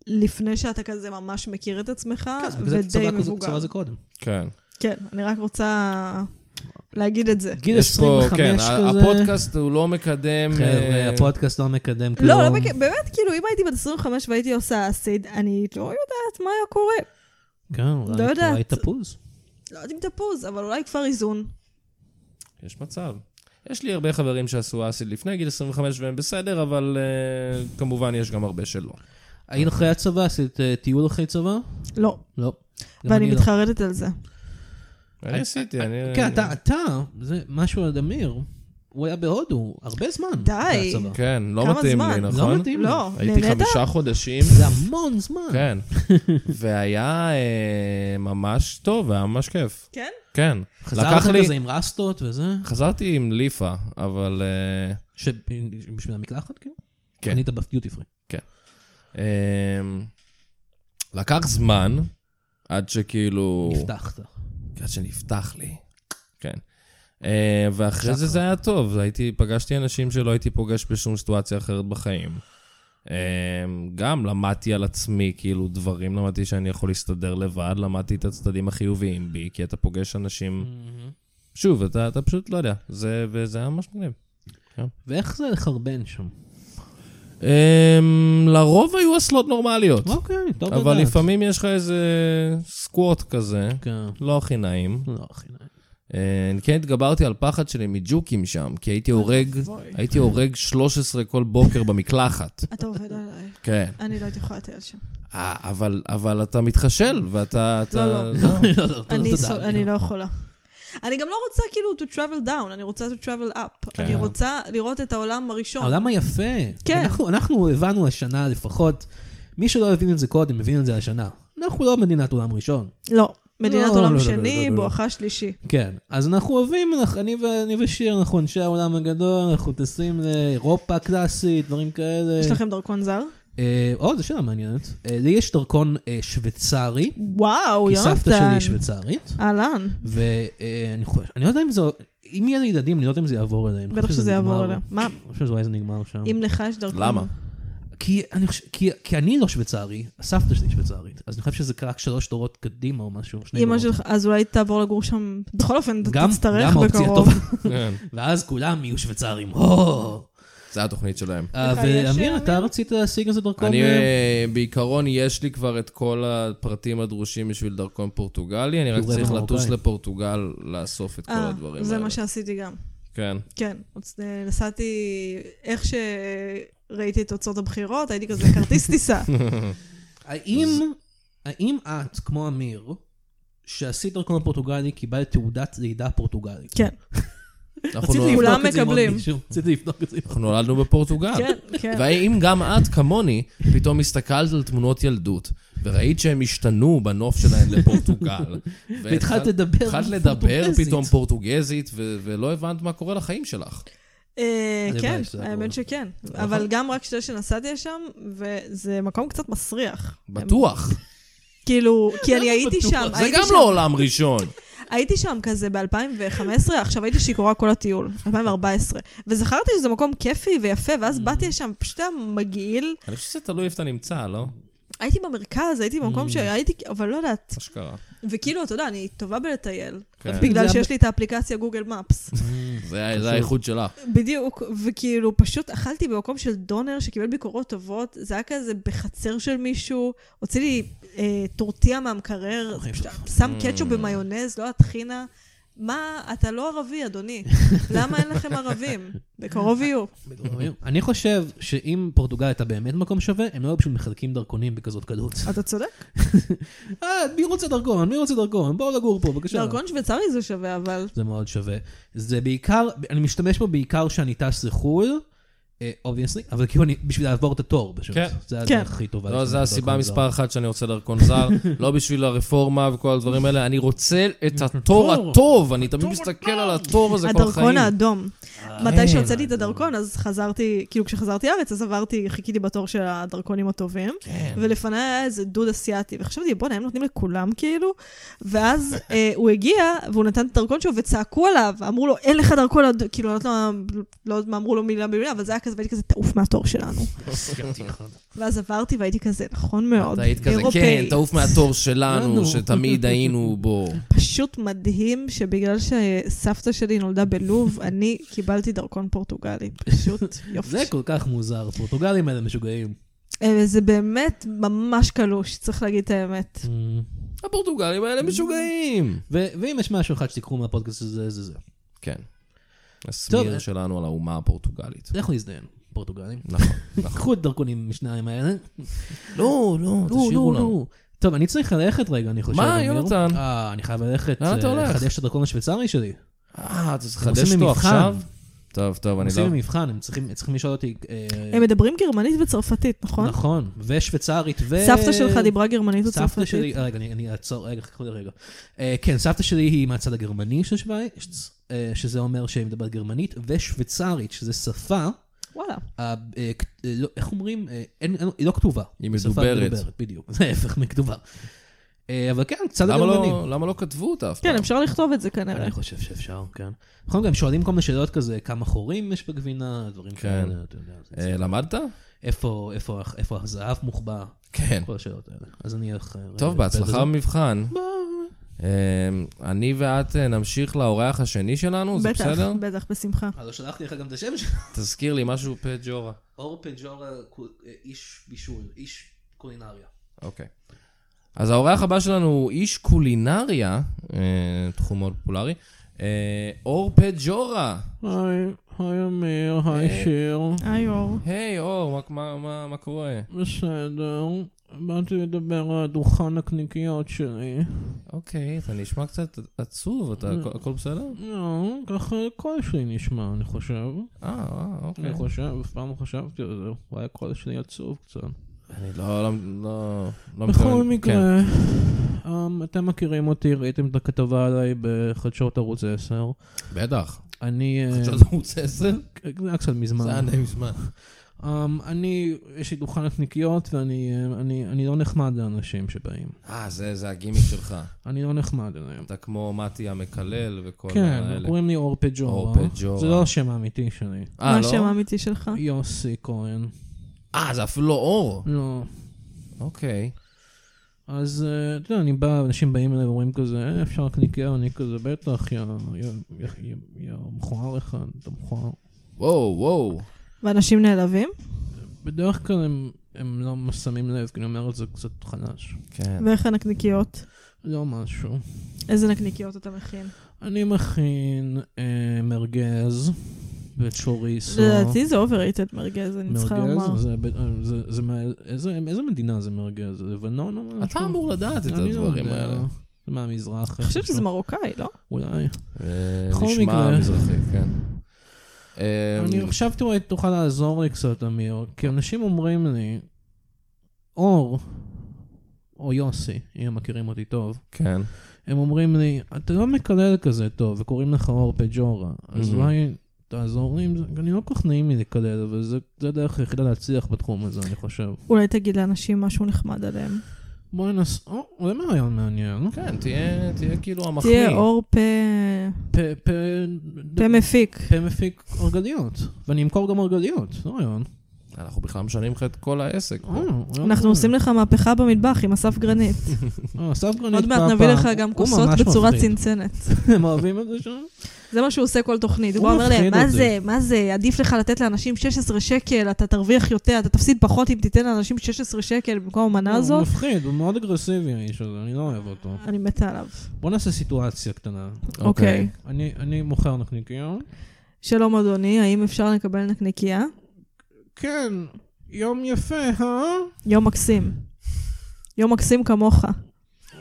S4: לפני שאתה כזה ממש מכיר את עצמך,
S3: כן, זה בגלל זה
S4: ודי
S3: צבא-
S4: מבוגר.
S3: צבא זה קודם.
S2: כן.
S4: כן, אני רק רוצה להגיד את זה.
S3: גיל
S2: יש פה,
S3: 25
S2: כן, ה-
S3: כזה.
S2: הפודקאסט הוא לא מקדם...
S3: חבר'ה,
S2: אה,
S3: הפודקאסט לא מקדם כלום.
S4: לא, לא מכיר, באמת, כאילו, אם הייתי בת 25 והייתי עושה אסיד, אני לא יודעת מה היה קורה.
S3: כן, אולי-
S4: לא יודעת.
S3: אולי תפוז.
S4: לא יודעת אם תפוז, אבל אולי כבר איזון.
S2: יש מצב. יש לי הרבה חברים שעשו אסיד לפני גיל 25 והם בסדר, אבל אה, כמובן יש גם הרבה שלא.
S3: היית אחרי הצבא, עשית אה, טיול אחרי צבא?
S4: לא,
S3: לא. גם
S4: ואני
S3: אני לא.
S4: מתחרטת על זה.
S2: אני עשיתי, אני...
S3: כן, אתה, אתה, זה משהו על אמיר, הוא היה בהודו הרבה זמן.
S4: די.
S3: אחרי הצבא.
S2: כן, לא
S4: כמה
S2: מתאים לי,
S4: זמן? לא
S2: נכון?
S3: מתאים. מדהים.
S4: לא,
S2: הייתי
S4: נהנית?
S2: חמישה חודשים.
S3: זה המון זמן.
S2: כן. והיה אה, ממש טוב, היה ממש כיף.
S4: כן?
S2: כן. לקח
S3: חזרת
S2: לי...
S3: כזה עם רסטות וזה,
S2: חזרתי עם ליפה, אבל... אה,
S3: ש- בשביל המקלחת כאילו?
S2: כן.
S3: קנית בדיוטי פרי.
S2: אמ, לקח זמן עד שכאילו...
S3: נפתחת.
S2: עד שנפתח לי. כן. אה, ואחרי זה זה היה טוב, הייתי, פגשתי אנשים שלא הייתי פוגש בשום סיטואציה אחרת בחיים. אה, גם למדתי על עצמי, כאילו, דברים, למדתי שאני יכול להסתדר לבד, למדתי את הצדדים החיוביים בי, כי אתה פוגש
S3: Mm.
S2: אנשים... שוב, אתה, אתה פשוט לא יודע, זה, וזה היה ממש מגניב.
S3: ואיך זה לחרבן שם?
S2: אה, לרוב היו אסלות נורמליות,
S3: אוקיי, טוב
S4: לא
S3: לדעת.
S2: אבל לפעמים יש לך איזה סקווט כזה,
S3: כן.
S2: לא הכי נעים.
S3: לא, אחי. לא.
S2: אה, אני כן התגברתי על פחד שלי מג'וקים שם, כי הייתי הורג,
S4: אוי.
S2: הייתי הורג 13 כל בוקר במקלחת.
S4: אתה עובד עליי.
S2: כן.
S4: אני לא הייתי יכולה לטייל שם.
S2: אה, אבל, אבל אתה מתחשל, ואתה... אתה,
S4: לא, לא.
S3: לא, לא,
S4: אני
S3: תודה,
S4: סול- אני לא יכולה. אני גם לא רוצה כאילו to travel down, אני רוצה to travel up.
S2: כן.
S4: אני רוצה לראות את העולם הראשון.
S3: העולם היפה.
S4: כן.
S3: אנחנו, אנחנו הבנו השנה לפחות, מי שלא הבין את זה קודם, הבין את זה השנה. אנחנו לא מדינת עולם ראשון.
S4: לא. מדינת
S3: לא, לא,
S4: עולם
S3: לא,
S4: שני,
S3: לא, לא, לא.
S4: בואכה שלישי.
S3: כן. אז אנחנו אוהבים, אנחנו- אני, ו- אני ושיר, אנחנו אנשי העולם הגדול, אנחנו טסים לאירופה קלאסית, דברים כאלה.
S4: יש לכם דרכון זר?
S3: אה, או, זו שאלה מעניינת. אה, לי יש דרכון אה, שוויצרי,
S4: וואו,
S3: כי
S4: יונתן.
S3: סבתא שלי היא שוויצרית,
S4: אהלן.
S3: ואני חושב, אני לא יודע אם זה, אם יהיה לי ילדים, אני לא יודע אם זה יעבור אליהם. אני
S4: בטח
S3: חושב
S4: שזה
S3: נגמר.
S4: יעבור אליהם. מה,
S3: אני חושב שזה אולי זה נגמר שם.
S4: אם לך יש דרכון?
S2: לא. למה?
S3: כי אני חושב, כי, כי אני לא שוויצרי, הסבתא שלי שוויצרית, אז אני חושב שזה רק שלוש דורות קדימה או משהו, שני
S4: אמא
S3: דורות.
S4: שלך, אז אולי תעבור לגור שם. בכל אופן, אתה
S3: גם-
S4: תצטרך
S3: גם האופציה
S4: בקרוב.
S3: טובה.
S2: כן,
S3: ואז כולם יהיו שוויצרים. הו!
S2: זה התוכנית שלהם.
S3: אה,
S4: לך יש,
S3: ואמיר,
S4: אמיר?
S3: אתה רצית להשיג איזה דרכון?
S2: אני,
S3: אה,
S2: אה, בעיקרון, יש לי כבר את כל הפרטים הדרושים בשביל דרכון פורטוגלי, אני רק
S3: שהוא רבע
S2: צריך לטוס
S3: מרוקאי.
S2: לפורטוגל לאסוף את כל
S4: אה,
S2: הדברים האלה.
S4: זה מה שעשיתי גם.
S2: כן.
S4: כן, אז, אה, נסעתי, איך שראיתי את תוצאות הבחירות, הייתי כזה כרטיס טיסה.
S3: האם, האם את, כמו אמיר, שעשית דרכון פורטוגלי, קיבלת תעודת לידה פורטוגלית?
S4: כן,
S2: אנחנו
S3: רציתי
S2: נולד-
S4: כולם
S3: לבדוק את זה עם עוד
S4: מקבלים.
S3: מישהו. רציתי לבדוק את זה. עם-
S2: אנחנו נולדנו בפורטוגל.
S4: כן, כן.
S2: והאם גם את, כמוני, פתאום הסתכלת על תמונות ילדות, וראית שהם השתנו בנוף שלהם לפורטוגל.
S3: והתחלת לדבר
S2: התחלת לדבר
S3: פורטוגזית.
S2: פתאום פורטוגזית, ו- ולא הבנת מה קורה לחיים שלך.
S4: אה,
S3: הלוואי
S4: כן,
S3: שזה היה קורה.
S4: האמת שכן.
S2: נכון.
S4: אבל גם רק שתי שנסעתי לשם, וזה מקום קצת מסריח.
S2: בטוח.
S4: כאילו, כי אני הייתי
S3: בטוח?
S4: שם,
S2: זה
S4: הייתי
S2: גם
S4: שם-
S2: לא עולם ראשון.
S4: הייתי שם כזה ב-2015, עכשיו הייתי שיכורה כל הטיול, 2014. וזכרתי שזה מקום כיפי ויפה, ואז באתי לשם, פשוט היה מגעיל.
S2: אני חושב שזה תלוי איפה אתה נמצא, לא?
S4: הייתי במרכז, הייתי במקום שהייתי, אבל לא יודעת.
S2: מה שקרה.
S4: וכאילו, אתה יודע, אני טובה בלטייל,
S2: כן.
S4: בגלל
S3: זה
S4: שיש לי את האפליקציה גוגל מפס.
S2: זה ה- זה האיכות שלך.
S4: בדיוק, וכאילו, פשוט אכלתי במקום של דונר שקיבל ביקורות טובות, זה היה כזה בחצר של מישהו, הוציא לי אה, טורטיה מהמקרר,
S3: אוי,
S4: פשוט שם קטשופ במיונז, לא הטחינה. מה, אתה לא ערבי, אדוני. למה אין לכם ערבים? בקרוב יהיו.
S3: אני חושב שאם פורטוגל הייתה באמת מקום שווה, הם לא היו פשוט מחלקים דרכונים בכזאת קלות.
S4: אתה צודק.
S3: אה, מי רוצה דרכון? מי רוצה דרכון? בואו לגור פה, בבקשה.
S4: דרכון שוויצרי זה שווה, אבל...
S3: זה מאוד שווה. זה בעיקר, אני משתמש בו בעיקר כשאני טס לחו"ל, אובייסלי, אבל כאילו אני, בשביל לעבור את התור פשוט.
S2: כן.
S3: זה
S4: כן.
S3: הדרך הכי טובה.
S2: לא,
S3: לשנות
S2: זו הסיבה
S3: דרכון
S2: מספר אחת שאני רוצה דרכון זר. לא בשביל הרפורמה וכל הדברים האלה, אני רוצה את התור
S3: התור.
S2: הטוב. אני תמיד מסתכל על התור הזה כל החיים.
S4: הדרכון האדום.
S2: אה,
S3: זר.
S4: מתי שהוצאתי את הדרכון, אז חזרתי, כאילו כשחזרתי לארץ, אז עברתי, חיכיתי בתור של הדרכונים הטובים.
S2: כן.
S4: ולפניי היה איזה דוד אסיאתי, וחשבתי, בוא'נה, הם נותנים לכולם כאילו? ואז אה, הוא הגיע, והוא נתן את הדרכון שלו, וצעקו עליו, אמרו לו, אין לך דרכון, אד-" כאילו, לא, יודעת מה- לא יודעת מה אמרו לו מילה במילה, אבל זה היה כזה, והייתי כזה, תעוף מהתור שלנו. ואז עברתי והייתי כזה, נכון מאוד,
S2: אתה היית כזה, כן,
S4: אירופאי.
S2: תעוף מהתור שלנו,
S3: לנו.
S2: שתמיד היינו בו.
S4: פשוט מדהים שבגלל שסבתא שלי נולדה בלוב, אני קיבלתי דרכון פורטוגלי. פשוט יופי.
S3: זה כל כך מוזר, פורטוגלים האלה משוגעים.
S4: אה, זה באמת ממש קלוש, צריך להגיד את האמת.
S2: הפורטוגלים האלה משוגעים.
S3: ו- ואם יש משהו אחד שתיקחו מהפודקאסט הזה, זה זה.
S2: כן.
S3: טוב.
S2: הסמיר שלנו על האומה הפורטוגלית.
S3: לכו להזדיין, פורטוגלים.
S2: נכון, נכון.
S3: קחו את הדרכונים משניים האלה.
S2: לא, לא, תשאירו לנו.
S3: טוב, אני צריך ללכת רגע, אני חושב.
S2: מה,
S3: אמיר.
S2: יונתן?
S3: אה, אני חייב ללכת.
S2: לאן אתה
S3: אה,
S2: הולך?
S3: לחדש את הדרכון השוויצרי שלי.
S2: אה, אתה צריך
S3: הם
S2: לחדש
S3: עושים לי
S2: אותו
S3: מבחן.
S2: עכשיו? טוב, טוב,
S3: הם
S2: אני
S3: עושים לי
S2: לא...
S3: מבחן, הם צריכים צריכים לשאול אותי... אה,
S4: הם מדברים גרמנית וצרפתית, נכון?
S3: נכון, ושוויצרית ו...
S4: סבתא שלך דיברה גרמנית
S3: סבתא
S4: וצרפתית?
S3: שלי, רגע, אני אני אעצור, רגע, חכו לי רגע. אה, כן, סבתא שלי היא מהצד הגרמני של שווייץ, אה, שזה אומר שהיא מדברת גרמנית, ושוויצרית, שזה שפה
S4: וואלה.
S3: ה- אה, כ- אה, לא- איך אומרים? אה, אין- אין- היא לא כתובה.
S2: היא
S3: בשפה
S2: מדוברת.
S3: בדיוק. זה ההפך מכתובה. אה, אבל כן, קצת
S2: למה
S3: הגרמנים.
S2: לא- למה לא כתבו אותה אף פעם?
S4: כן, אפשר לכתוב את זה כנראה.
S3: אני חושב שאפשר, כן. נכון, גם שואלים כל מיני שאלות כזה, כמה חורים יש בגבינה, דברים כאלה, אתה יודע. זה-
S2: אה, למדת?
S3: איפה- איפה איפה הזהב מוחבא,
S2: כן.
S3: כל השאלות האלה. אז אני אלך... אה,
S2: טוב,
S3: לטפל בזה.
S2: בהצלחה במבחן. אה, אני ואת אה, נמשיך לאורח השני שלנו, זה
S4: בטח,
S2: בסדר?
S4: בטח, בשמחה.
S3: אה, לא שלחתי לך גם את השם שלו.
S2: תזכיר לי משהו פג'ורה.
S3: אור פג'ורה, איש בישול, איש קולינריה.
S2: אוקיי. אז האורח הבא שלנו הוא איש קולינריה, אה, תחום מאוד פופולרי, אה, אור פג'ורה.
S5: היי, היי אמיר,
S2: אה.
S5: היי שיר,
S4: היי אור.
S2: היי, אור, מה- מה- מה מה קורה?
S5: בסדר. באתי לדבר על דוכן הקניקיות שלי.
S2: אוקיי, אתה נשמע קצת עצוב, אתה,
S5: Mm.
S2: הכ- הכל בסדר?
S5: לא, ככה הקול שלי נשמע, אני חושב.
S2: אה, אה, אוקיי.
S5: אני חושב, אף פעם לא חשבתי על זה. אולי הקול שלי עצוב קצת.
S2: אני לא, לא, לא, לא
S5: בכל
S2: מתכוון- כן.
S5: מקרה, אמ, אתם מכירים אותי, ראיתם את הכתבה עליי בחדשות ערוץ 10.
S2: כן, בטח.
S5: אני... אה,
S2: חדשות ערוץ 10?
S5: זה היה קצת מזמן.
S2: זה היה די מזמן.
S5: אמ, אני, יש לי דוכן הקניקיות ואני אה, אני- אני לא נחמד לאנשים שבאים.
S2: אה, זה זה הגימיק שלך.
S5: אני לא נחמד אליהם.
S2: אתה כמו מתי המקלל וכל
S5: כן,
S2: האלה.
S5: קוראים לי אור פג'ורה.
S2: אור פג'ורה.
S5: זה לא השם האמיתי שלי.
S2: אה,
S4: מה השם
S2: לא?
S4: האמיתי שלך?
S5: אה, יוסי כהן.
S2: אה, זה אפילו לא אור.
S5: לא.
S2: אוקיי.
S5: אז אה, אתה יודע, אני בא, אנשים באים אליי ואומרים כזה, "אה, אפשר קניקיה, אני כזה, בטח, יא יא- יא- יא- יא מכוער אחד, אתה מכוער.
S2: וואו, וואו.
S4: ואנשים נעלבים?
S5: בדרך כלל הם- הם לא שמים לב, כי אני אומר את זה קצת חלש.
S2: כן.
S4: ואיך הנקניקיות?
S5: לא משהו.
S4: איזה נקניקיות אתה מכין?
S5: אני מכין אה, מרגז וצ'וריסו.
S4: לדעתי זה overrated מרגז, אני צריכה
S5: מרגז?
S4: לומר.
S5: זה ב- אה, זה- זה מה- איזה- איזה מדינה זה מרגז? זה לבנון או משהו?
S2: אתה אמור לדעת את
S5: אוקיי. אני לא
S2: הדברים
S5: יודע.
S2: האלה.
S5: זה מהמזרח.
S4: אני חושבת
S5: איפשהו.
S4: שזה מרוקאי, לא?
S5: אולי.
S2: אה,
S5: בכל
S2: נשמע
S5: מקרה.
S2: מזרחי, כן. אה,
S5: אני חשבתי אולי תוכל לעזור לי קצת, אמיר, כי אנשים אומרים לי, אור, או יוסי, אם הם מכירים אותי טוב,
S2: כן.
S5: הם אומרים לי, אתה לא מקלל כזה טוב, וקוראים לך אור פג'ורה, אז
S2: Mhm.
S5: אולי תעזור לי עם זה? אני לא כל כך נעים לי לקלל, אבל זה- זה הדרך היחידה להצליח בתחום הזה, אני חושב.
S4: אולי תגיד לאנשים משהו נחמד עליהם.
S5: בואי נס... או, אולי מרעיון מעניין.
S2: כן, תהיה תהיה כאילו המחמיא.
S4: תהיה אור פה...
S5: פה- פה...
S4: פה מפיק.
S5: פה מפיק אורגליות, ואני אמכור גם אורגליות, זה רעיון.
S2: אנחנו בכלל משנים לך את כל העסק. פה.
S5: אה, רעיון מעניין.
S4: אנחנו עושים לך מהפכה במטבח עם אסף גרנית.
S5: אה, אסף גרנית
S4: עוד מעט
S5: פעם-
S4: נביא
S5: פעם-
S4: לך גם
S5: הוא
S4: כוסות
S5: ממש
S4: בצורת
S5: מפחיד.
S4: צנצנת.
S5: הם אוהבים את זה שם?
S4: זה מה שהוא עושה כל תוכנית. הוא
S5: הוא
S4: אומר להם,
S5: מפחיד
S4: מה
S5: אותי."
S4: זה, מה זה, עדיף לך לתת לאנשים 16 שקל, אתה תרוויח יותר, אתה תפסיד פחות אם תיתן לאנשים 16 שקל במקום המנה
S5: לא, הוא
S4: הזאת.
S5: מפחיד, הוא מאוד אגרסיבי האיש הזה, אני לא אוהב אותו.
S4: אני מתה עליו.
S5: בוא נעשה סיטואציה קטנה.
S4: אוקיי.
S5: אני אני מוכר נקניקיה.
S4: שלום אדוני, האם אפשר לקבל נקניקייה?
S5: כן, יום יפה, אה?
S4: יום מקסים. יום מקסים כמוך.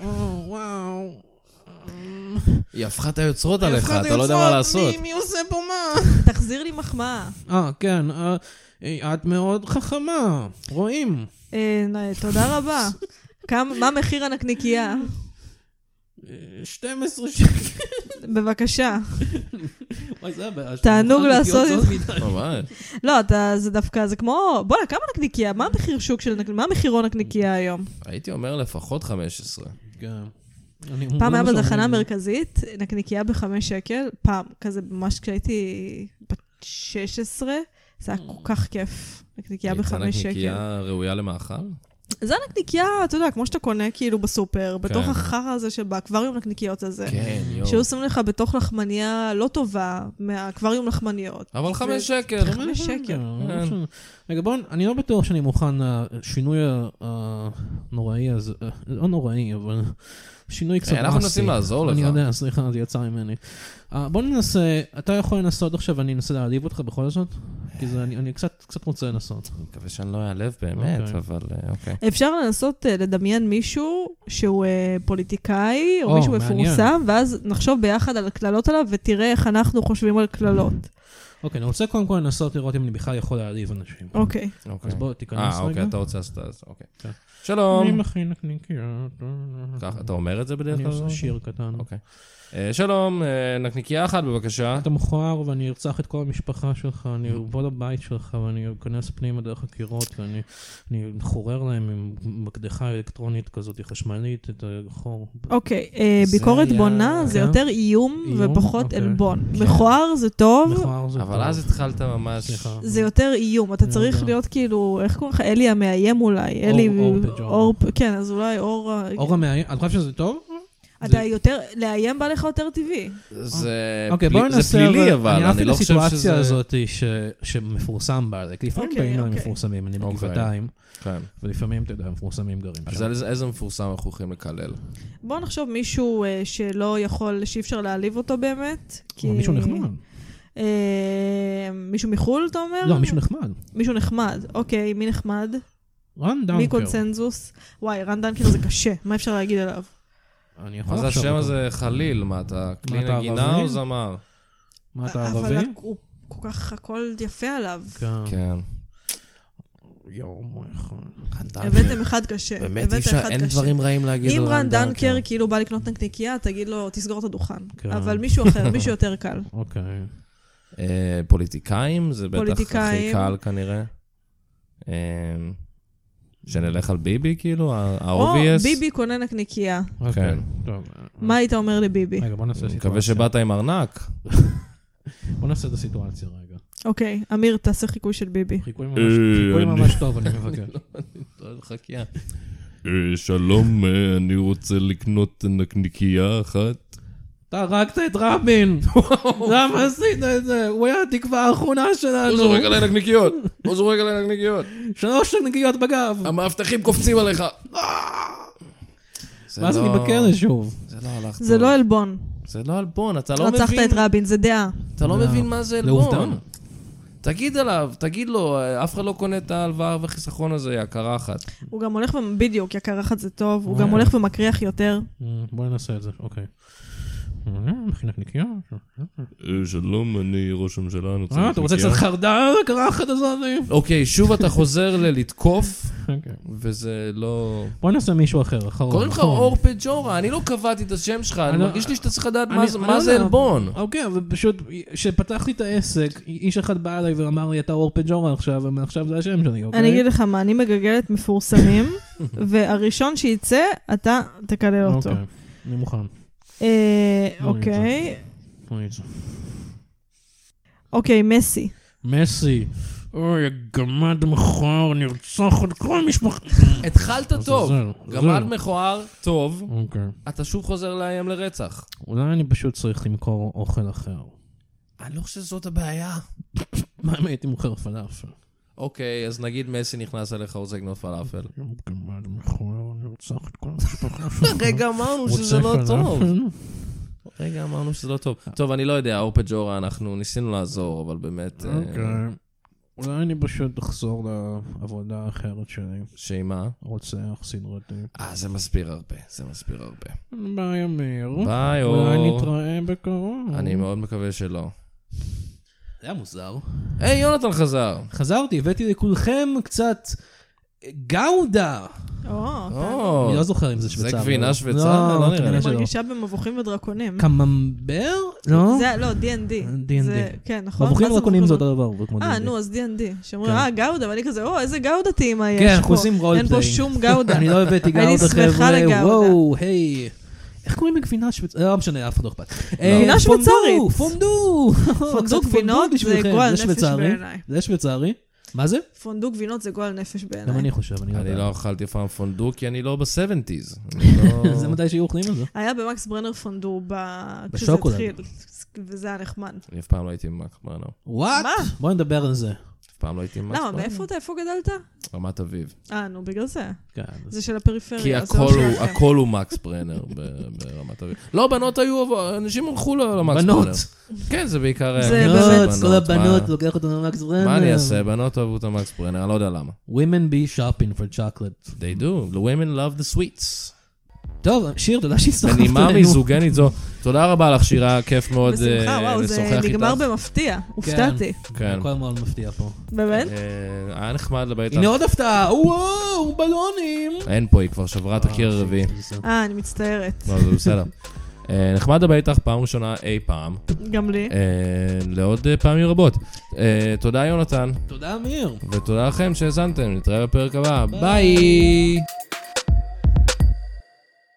S5: אה, וואו.
S2: היא הפכה את היוצרות עליך,
S5: הפחדתי
S2: אתה לא יודע
S5: לצעוק,
S2: מה
S5: מי-
S2: לעשות.
S5: מי עושה פה מה?
S4: תחזיר לי מחמאה.
S5: אה, כן, אה, אה, את מאוד חכמה, רואים.
S4: אה, נ- תודה רבה. כמה- מה מחיר הנקניקייה?
S5: אה, 12 שקל.
S4: בבקשה.
S5: וואי, זה הבעיה.
S4: תענוג
S5: שלך,
S4: לעשות
S5: נקניקיות
S4: את-
S5: זול מדי.
S2: ממש.
S4: לא, אתה, זה דווקא, זה כמו, בואנה, כמה נקניקייה? מה המחיר שוק של נקניקייה? מה מחירון נקניקייה היום?
S2: הייתי אומר לפחות 15.
S5: כן. אני-
S4: פעם
S5: זה
S4: היה
S5: מה שאומרים
S4: בתחנה
S5: לי.
S4: המרכזית, נקניקייה בחמש שקל, פעם, כזה ממש כשהייתי בת 16, זה היה כל כך כיף. נקניקייה
S2: Mm. הייתה
S4: בחמש שקל.
S2: נקניקייה ראויה למאכל?
S4: זה נקניקייה, אתה יודע, כמו שאתה קונה כאילו בסופר, בתוך החרא הזה שבאקווריום נקניקיות הזה.
S2: כן, יואו.
S4: שהיו שמים לך בתוך לחמניה לא טובה, מהאקווריום לחמניות.
S2: אבל חמש שקל.
S4: חמש שקל.
S5: כן. רגע, בואו, אני לא בטוח שאני מוכן אה, לשינוי הנוראי הזה, אה, לא נוראי, אבל שינוי קצת
S2: אה, אנחנו
S5: דרסטי.
S2: מנסים לעזור
S5: אני
S2: לך.
S5: יודע, סליחה, זה יצא ממני. אה, בוא ננסה, אתה יכול לנסות עכשיו, אני אנסה להעליב אותך בכל זאת? כי זה, אני אני קצת קצת רוצה לנסות.
S2: אני מקווה שאני לא אעלב באמת,
S5: אוקיי.
S2: אבל אה, אוקיי.
S4: אפשר לנסות אה, לדמיין מישהו שהוא אה, פוליטיקאי, או
S5: או,
S4: מישהו
S5: מעניין.
S4: מפורסם, ואז נחשוב ביחד על הקללות עליו, ותראה איך אנחנו חושבים על קללות.
S5: אוקיי, אני רוצה קודם כל לנסות לראות אם אני בכלל יכול להעליב אנשים.
S4: אוקיי.
S2: אוקיי.
S5: אז בוא תיכנס
S2: אה,
S5: רגע.
S2: אוקיי, אתה רוצה לעשות את זה, אוקיי.
S5: כן. אני
S2: שלום.
S5: מכין נקניקיות.
S2: ככה, אתה אומר את זה בדרך
S5: אני
S2: כלל?
S5: עושה שיר קטן.
S2: אוקיי. אה, שלום, אה, נקניקייה אחת בבקשה.
S5: אתה מכוער ואני ארצח את כל המשפחה שלך,
S2: Mm.
S5: אני אבוא לבית שלך ואני אכנס פנימה דרך הקירות ואני אני חורר להם עם מקדחה אלקטרונית כזאת חשמלית את החור.
S4: אוקיי, אה,
S2: זה
S4: ביקורת
S2: היה-
S4: בונה זה
S5: כן.
S4: יותר איום
S5: איום,
S4: ופחות
S5: אוקיי.
S4: עלבון. מכוער זה טוב,
S5: מכוער זה
S2: אבל
S5: טוב.
S2: אז התחלת ממש...
S5: סליחה.
S4: זה יותר איום. אתה
S5: לא
S4: צריך
S5: יודע.
S4: להיות כאילו, איך קוראים לך? אלי המאיים אולי. אלי...
S5: אור פג'מה.
S4: אור פ- כן, אז אולי אור... ה-
S5: אור המאיים, אתה חושב שזה טוב?
S4: אתה
S5: זה-
S4: יותר... לאיים בא לך יותר טבעי.
S2: זה
S5: אוקיי,
S2: פלי-
S5: בואו ננסה.
S2: זה פלילי אבל,
S5: אני
S2: אני
S5: אהבתי את
S2: לא חושב
S5: הסיטואציה
S2: שזה...
S5: הזאת ש- שמפורסם בה, זה כי לפעמים
S4: אוקיי,
S5: באים להם
S4: אוקיי.
S5: מפורסמים, אני
S2: אוקיי.
S5: בגבעתיים,
S2: כן.
S5: ולפעמים, אתה יודע, מפורסמים גרים
S2: אז
S5: שם.
S2: על איזה- איזה מפורסם אנחנו הולכים לקלל?
S4: בוא נחשוב מישהו אה, שלא יכול, שאי אפשר להעליב אותו באמת. כי-
S5: או, מישהו
S4: אוקיי.
S5: נחמד.
S4: אה, מישהו מחו"ל, אתה אומר?
S5: לא, מישהו נחמד.
S4: מישהו נחמד. אוקיי, מי נחמד?
S5: רן
S4: מי
S5: דנקר.
S4: קונצנזוס? וואי, רן דנקר זה קשה, מה אפשר להגיד עליו?
S5: אני יכול
S2: מה זה
S5: לחשוב
S2: השם
S5: אותו.
S2: הזה חליל? מה אתה? כלי
S5: אתה,
S2: נגינה
S5: ערבי?
S2: או זמר?
S5: מה, אתה
S4: אבל
S5: ערבי?
S4: הוא כל כך, הכל יפה עליו.
S5: כן.
S2: כן.
S5: יום אחד.
S4: הבאתם אחד קשה.
S2: אה, כן. באמת
S4: הבאת
S2: אי אפשר,
S4: אחד
S2: אין
S4: קשה.
S2: דברים רעים להגיד
S4: אם
S2: על
S4: רן דנקר כאילו בא לקנות נקניקייה, תגיד לו, תסגור את הדוכן.
S5: כן.
S4: אבל מישהו אחר, מישהו יותר קל.
S5: אוקיי.
S2: כן. אה, פוליטיקאים, זה בטח הכי
S4: פוליטיקאים.
S2: קל כנראה. אה, שנלך על ביבי כאילו? ה-obvious?
S4: או ביבי קונה נקניקייה.
S2: אה.
S5: אוקיי. טוב.
S4: מה היית אומר לביבי?
S5: רגע, בוא נעשה
S2: אני
S5: סיטואציה.
S2: מקווה שבאת עם ארנק.
S5: בוא נעשה את הסיטואציה רגע.
S4: אוקיי, אמיר, תעשה חיקוי של ביבי.
S2: אה.
S5: חיקוי ממש- חיקוי
S2: אני- לא.
S5: ממש טוב, אני מבקש.
S2: אה, שלום, אני רוצה לקנות נקניקייה אחת.
S5: אתה הרגת את רבין! למה עשית את זה? הוא היה התקווה האחרונה
S2: הוא
S5: שלנו!
S2: זורק
S4: לא-
S2: עליי נקניקיות! הוא זורק עליי נקניקיות!
S5: שלוש נגיעות בגב!
S2: המאבטחים קופצים עליך!
S4: אה!
S5: ואז אני
S2: לא-
S5: בכלא שוב.
S2: זה לא הלך
S4: זה
S2: טוב.
S4: לא עלבון.
S2: זה לא עלבון, אתה לא
S4: רצחת
S2: מבין.
S4: את רבין, זה דעה.
S2: אתה לא
S5: לא.
S2: מבין מה זה
S5: זה
S2: עלבון.
S5: עובדה.
S2: תגיד עליו, תגיד לו, אף אחד לא קונה את ההלוואה וחיסכון הזה, יא הכרה אחת.
S4: הוא גם הולך, ו- בדיוק, יקר אחת זה טוב,
S5: אוקיי.
S4: הוא גם הולך ומקריח יותר.
S2: אה,
S5: בוא נעשה את זה, אוקיי. אה, מכינת נקיות.
S2: אה, שלום, אני ראש הממשלה, אני
S5: אה, אתה רוצה קצת חרדל? הקרחת הזאת?
S2: אוקיי, שוב אתה חוזר ללתקוף,
S5: אוקיי.
S2: וזה לא...
S5: בוא נעשה מישהו אחר, אחרון.
S2: קוראים לך
S5: אחרון.
S2: אור פג'ורה, אני לא קבעתי את השם שלך, אני
S5: אני לא-
S2: מרגיש לי שאתה צריך לדעת
S5: אני-
S2: מה זה-
S5: אני
S2: מה
S5: לא
S2: זה
S5: יודע.
S2: עלבון.
S5: אוקיי, אבל פשוט, כשפתחתי את העסק, איש אחד בא אליי ואמר לי, אתה אור פג'ורה עכשיו, ומעכשיו זה השם שלי, אוקיי?
S4: אני אגיד לך מה, אני מגגלת מפורסמים, והראשון שיצא, אתה תקלל אותו.
S5: אוקיי, אני מוכן.
S4: אה,
S5: אוקיי. לא
S4: אוקיי.
S5: בוא נצא.
S4: אוקיי, מסי.
S5: מסי, אוי, הגמד מכוער, נרצח את כל משפחת...
S2: התחלת טוב,
S5: זהו,
S2: גמל
S5: זהו.
S2: מכוער, טוב,
S5: אוקיי.
S2: אתה שוב חוזר לאיים לרצח.
S5: אולי אני פשוט צריך למכור אוכל אחר.
S2: אני לא חושב שזאת הבעיה.
S5: מה אם הייתי מוכר פלאפל?
S2: אוקיי, אז נגיד מסי נכנס אליך, רוצה לקנות פלאפל.
S5: יום גמד מכוער, נרצח את כל המשפחה שלך.
S2: רגע אמרנו
S5: רוצה
S2: שזה לא
S5: פלאפל?
S2: טוב. רגע אמרנו שזה לא טוב. טוב, אני לא יודע, אור פג'ורה, אנחנו ניסינו לעזור, אבל באמת... אה,
S5: אוקיי. אולי אני פשוט אחזור לעבודה האחרת שלי,
S2: שמה?
S5: רוצח סדרתי.
S2: אה, זה מסביר הרבה, זה מסביר הרבה.
S5: ביי אמיר.
S2: ביי,
S5: אוקיי. אולי
S2: אור.
S5: נתראה בקרוב.
S2: אני מאוד מקווה שלא.
S5: זה היה מוזר.
S2: היי, יונתן חזר.
S5: חזרתי, הבאתי לכולכם קצת גאודה.
S4: או,
S2: או, אוקיי.
S5: אני לא זוכר אם זה
S2: זה
S5: שוויצר.
S2: גבינה
S5: אבל-
S2: שוויצרית?
S5: לא,
S2: לא נראה לי.
S5: כנראה
S4: אני
S5: שלא.
S4: מרגישה במבוכים ודרקונים.
S5: קממבר? לא?
S4: זה, לא, D&D.
S5: D&D.
S4: זה- כן, נכון?
S5: מבוכים
S4: מה זה
S5: דרקונים
S4: מבוכים
S5: זה אותו דבר. זה כמו
S4: אה,
S5: D&D.
S4: נו, אז D&D. שאומרים,
S5: כן.
S4: אה, גאודה, ואני כזה, או, איזה גאודה טעימה יש פה.
S5: כן, אנחנו עושים רול
S4: אין פה שום גאודה.
S5: אני לא הבאתי
S4: אני
S5: גאודה,
S4: שמחה לגאודה.
S5: חבר'ה. וואו, היי. איך קוראים לגבינה שוויצרית? לא משנה, אף אחד לא אכפת. אה,
S4: גבינה
S5: פונדו,
S4: שוויצרית.
S5: פונדו! קצת
S4: פונדו גבינות זה
S5: בשבילכם.
S4: גועל
S5: זה
S4: נפש
S5: שוויצרי?
S4: בעיניי.
S5: זה שוויצרי. מה זה?
S4: פונדו גבינות זה גועל נפש
S5: גם
S4: בעיניי.
S5: אני חושב, אני לא
S2: אני
S5: יודע.
S2: לא אכלתי אף פעם פונדו, כי אני לא ב-70's.
S5: זה מתי שיהיו אוכלים את זה.
S4: היה במקס ברנר פונדו ב- כשזה
S5: בשוקולד.
S4: התחיל, וזה היה נחמד.
S2: אני אף פעם לא הייתי במאק ברנו.
S5: וואט?
S4: מה?
S5: בואו נדבר על זה.
S2: אף פעם לא הייתי במאק
S4: למה,
S2: ברנו.
S4: מאיפה אתה, איפה גדלת?
S2: רמת אביב.
S4: אה, נו, בגלל זה.
S5: כן,
S4: זה של הפריפריה.
S2: כי
S4: אז זה לא
S2: הכל הוא-
S4: שלכם.
S2: הכל הוא מקס ברנר ב- ברמת אביב. לא, בנות היו, אבל אנשים הלכו ל-
S4: לא
S2: למקס ברנר.
S5: בנות.
S2: כן, זה בעיקר...
S4: זה
S2: היה-
S4: באמת-
S5: בנות, כל
S2: מה-
S5: הבנות, לוקח אותנו למקס ברנר.
S2: מה אני אעשה? בנות אוהבו את המקס ברנר, אני לא יודע למה.
S5: Women be shopping for chocolate.
S2: They do. The women love the sweets.
S3: טוב, שיר, תודה שהצטרפת אלינו.
S2: בנימה מיזוגנית זו. תודה רבה לך, שירה, כיף מאוד אה,
S4: בשמחה, וואו, זה
S2: לשוחח איתך.
S4: נגמר במפתיע. הופתעתי.
S2: כן.
S3: כל הזמן מפתיע פה.
S4: באמת?
S2: אה, היה נחמד לבית
S3: הנה עוד הפתעה, וואו, בלונים.
S2: אין פה, היא כבר שברה את הקיר הרביעי.
S4: אה, אני מצטערת.
S2: לא, זה בסדר. אה, נחמד לדבר איתך פעם ראשונה אי פעם,
S4: גם לי.
S2: אה, לעוד אה, פעמים רבות. אה, תודה יונתן,
S3: תודה, אמיר.
S2: ותודה לכם שהאזנתם, נתראה בפרק הבא, ביי!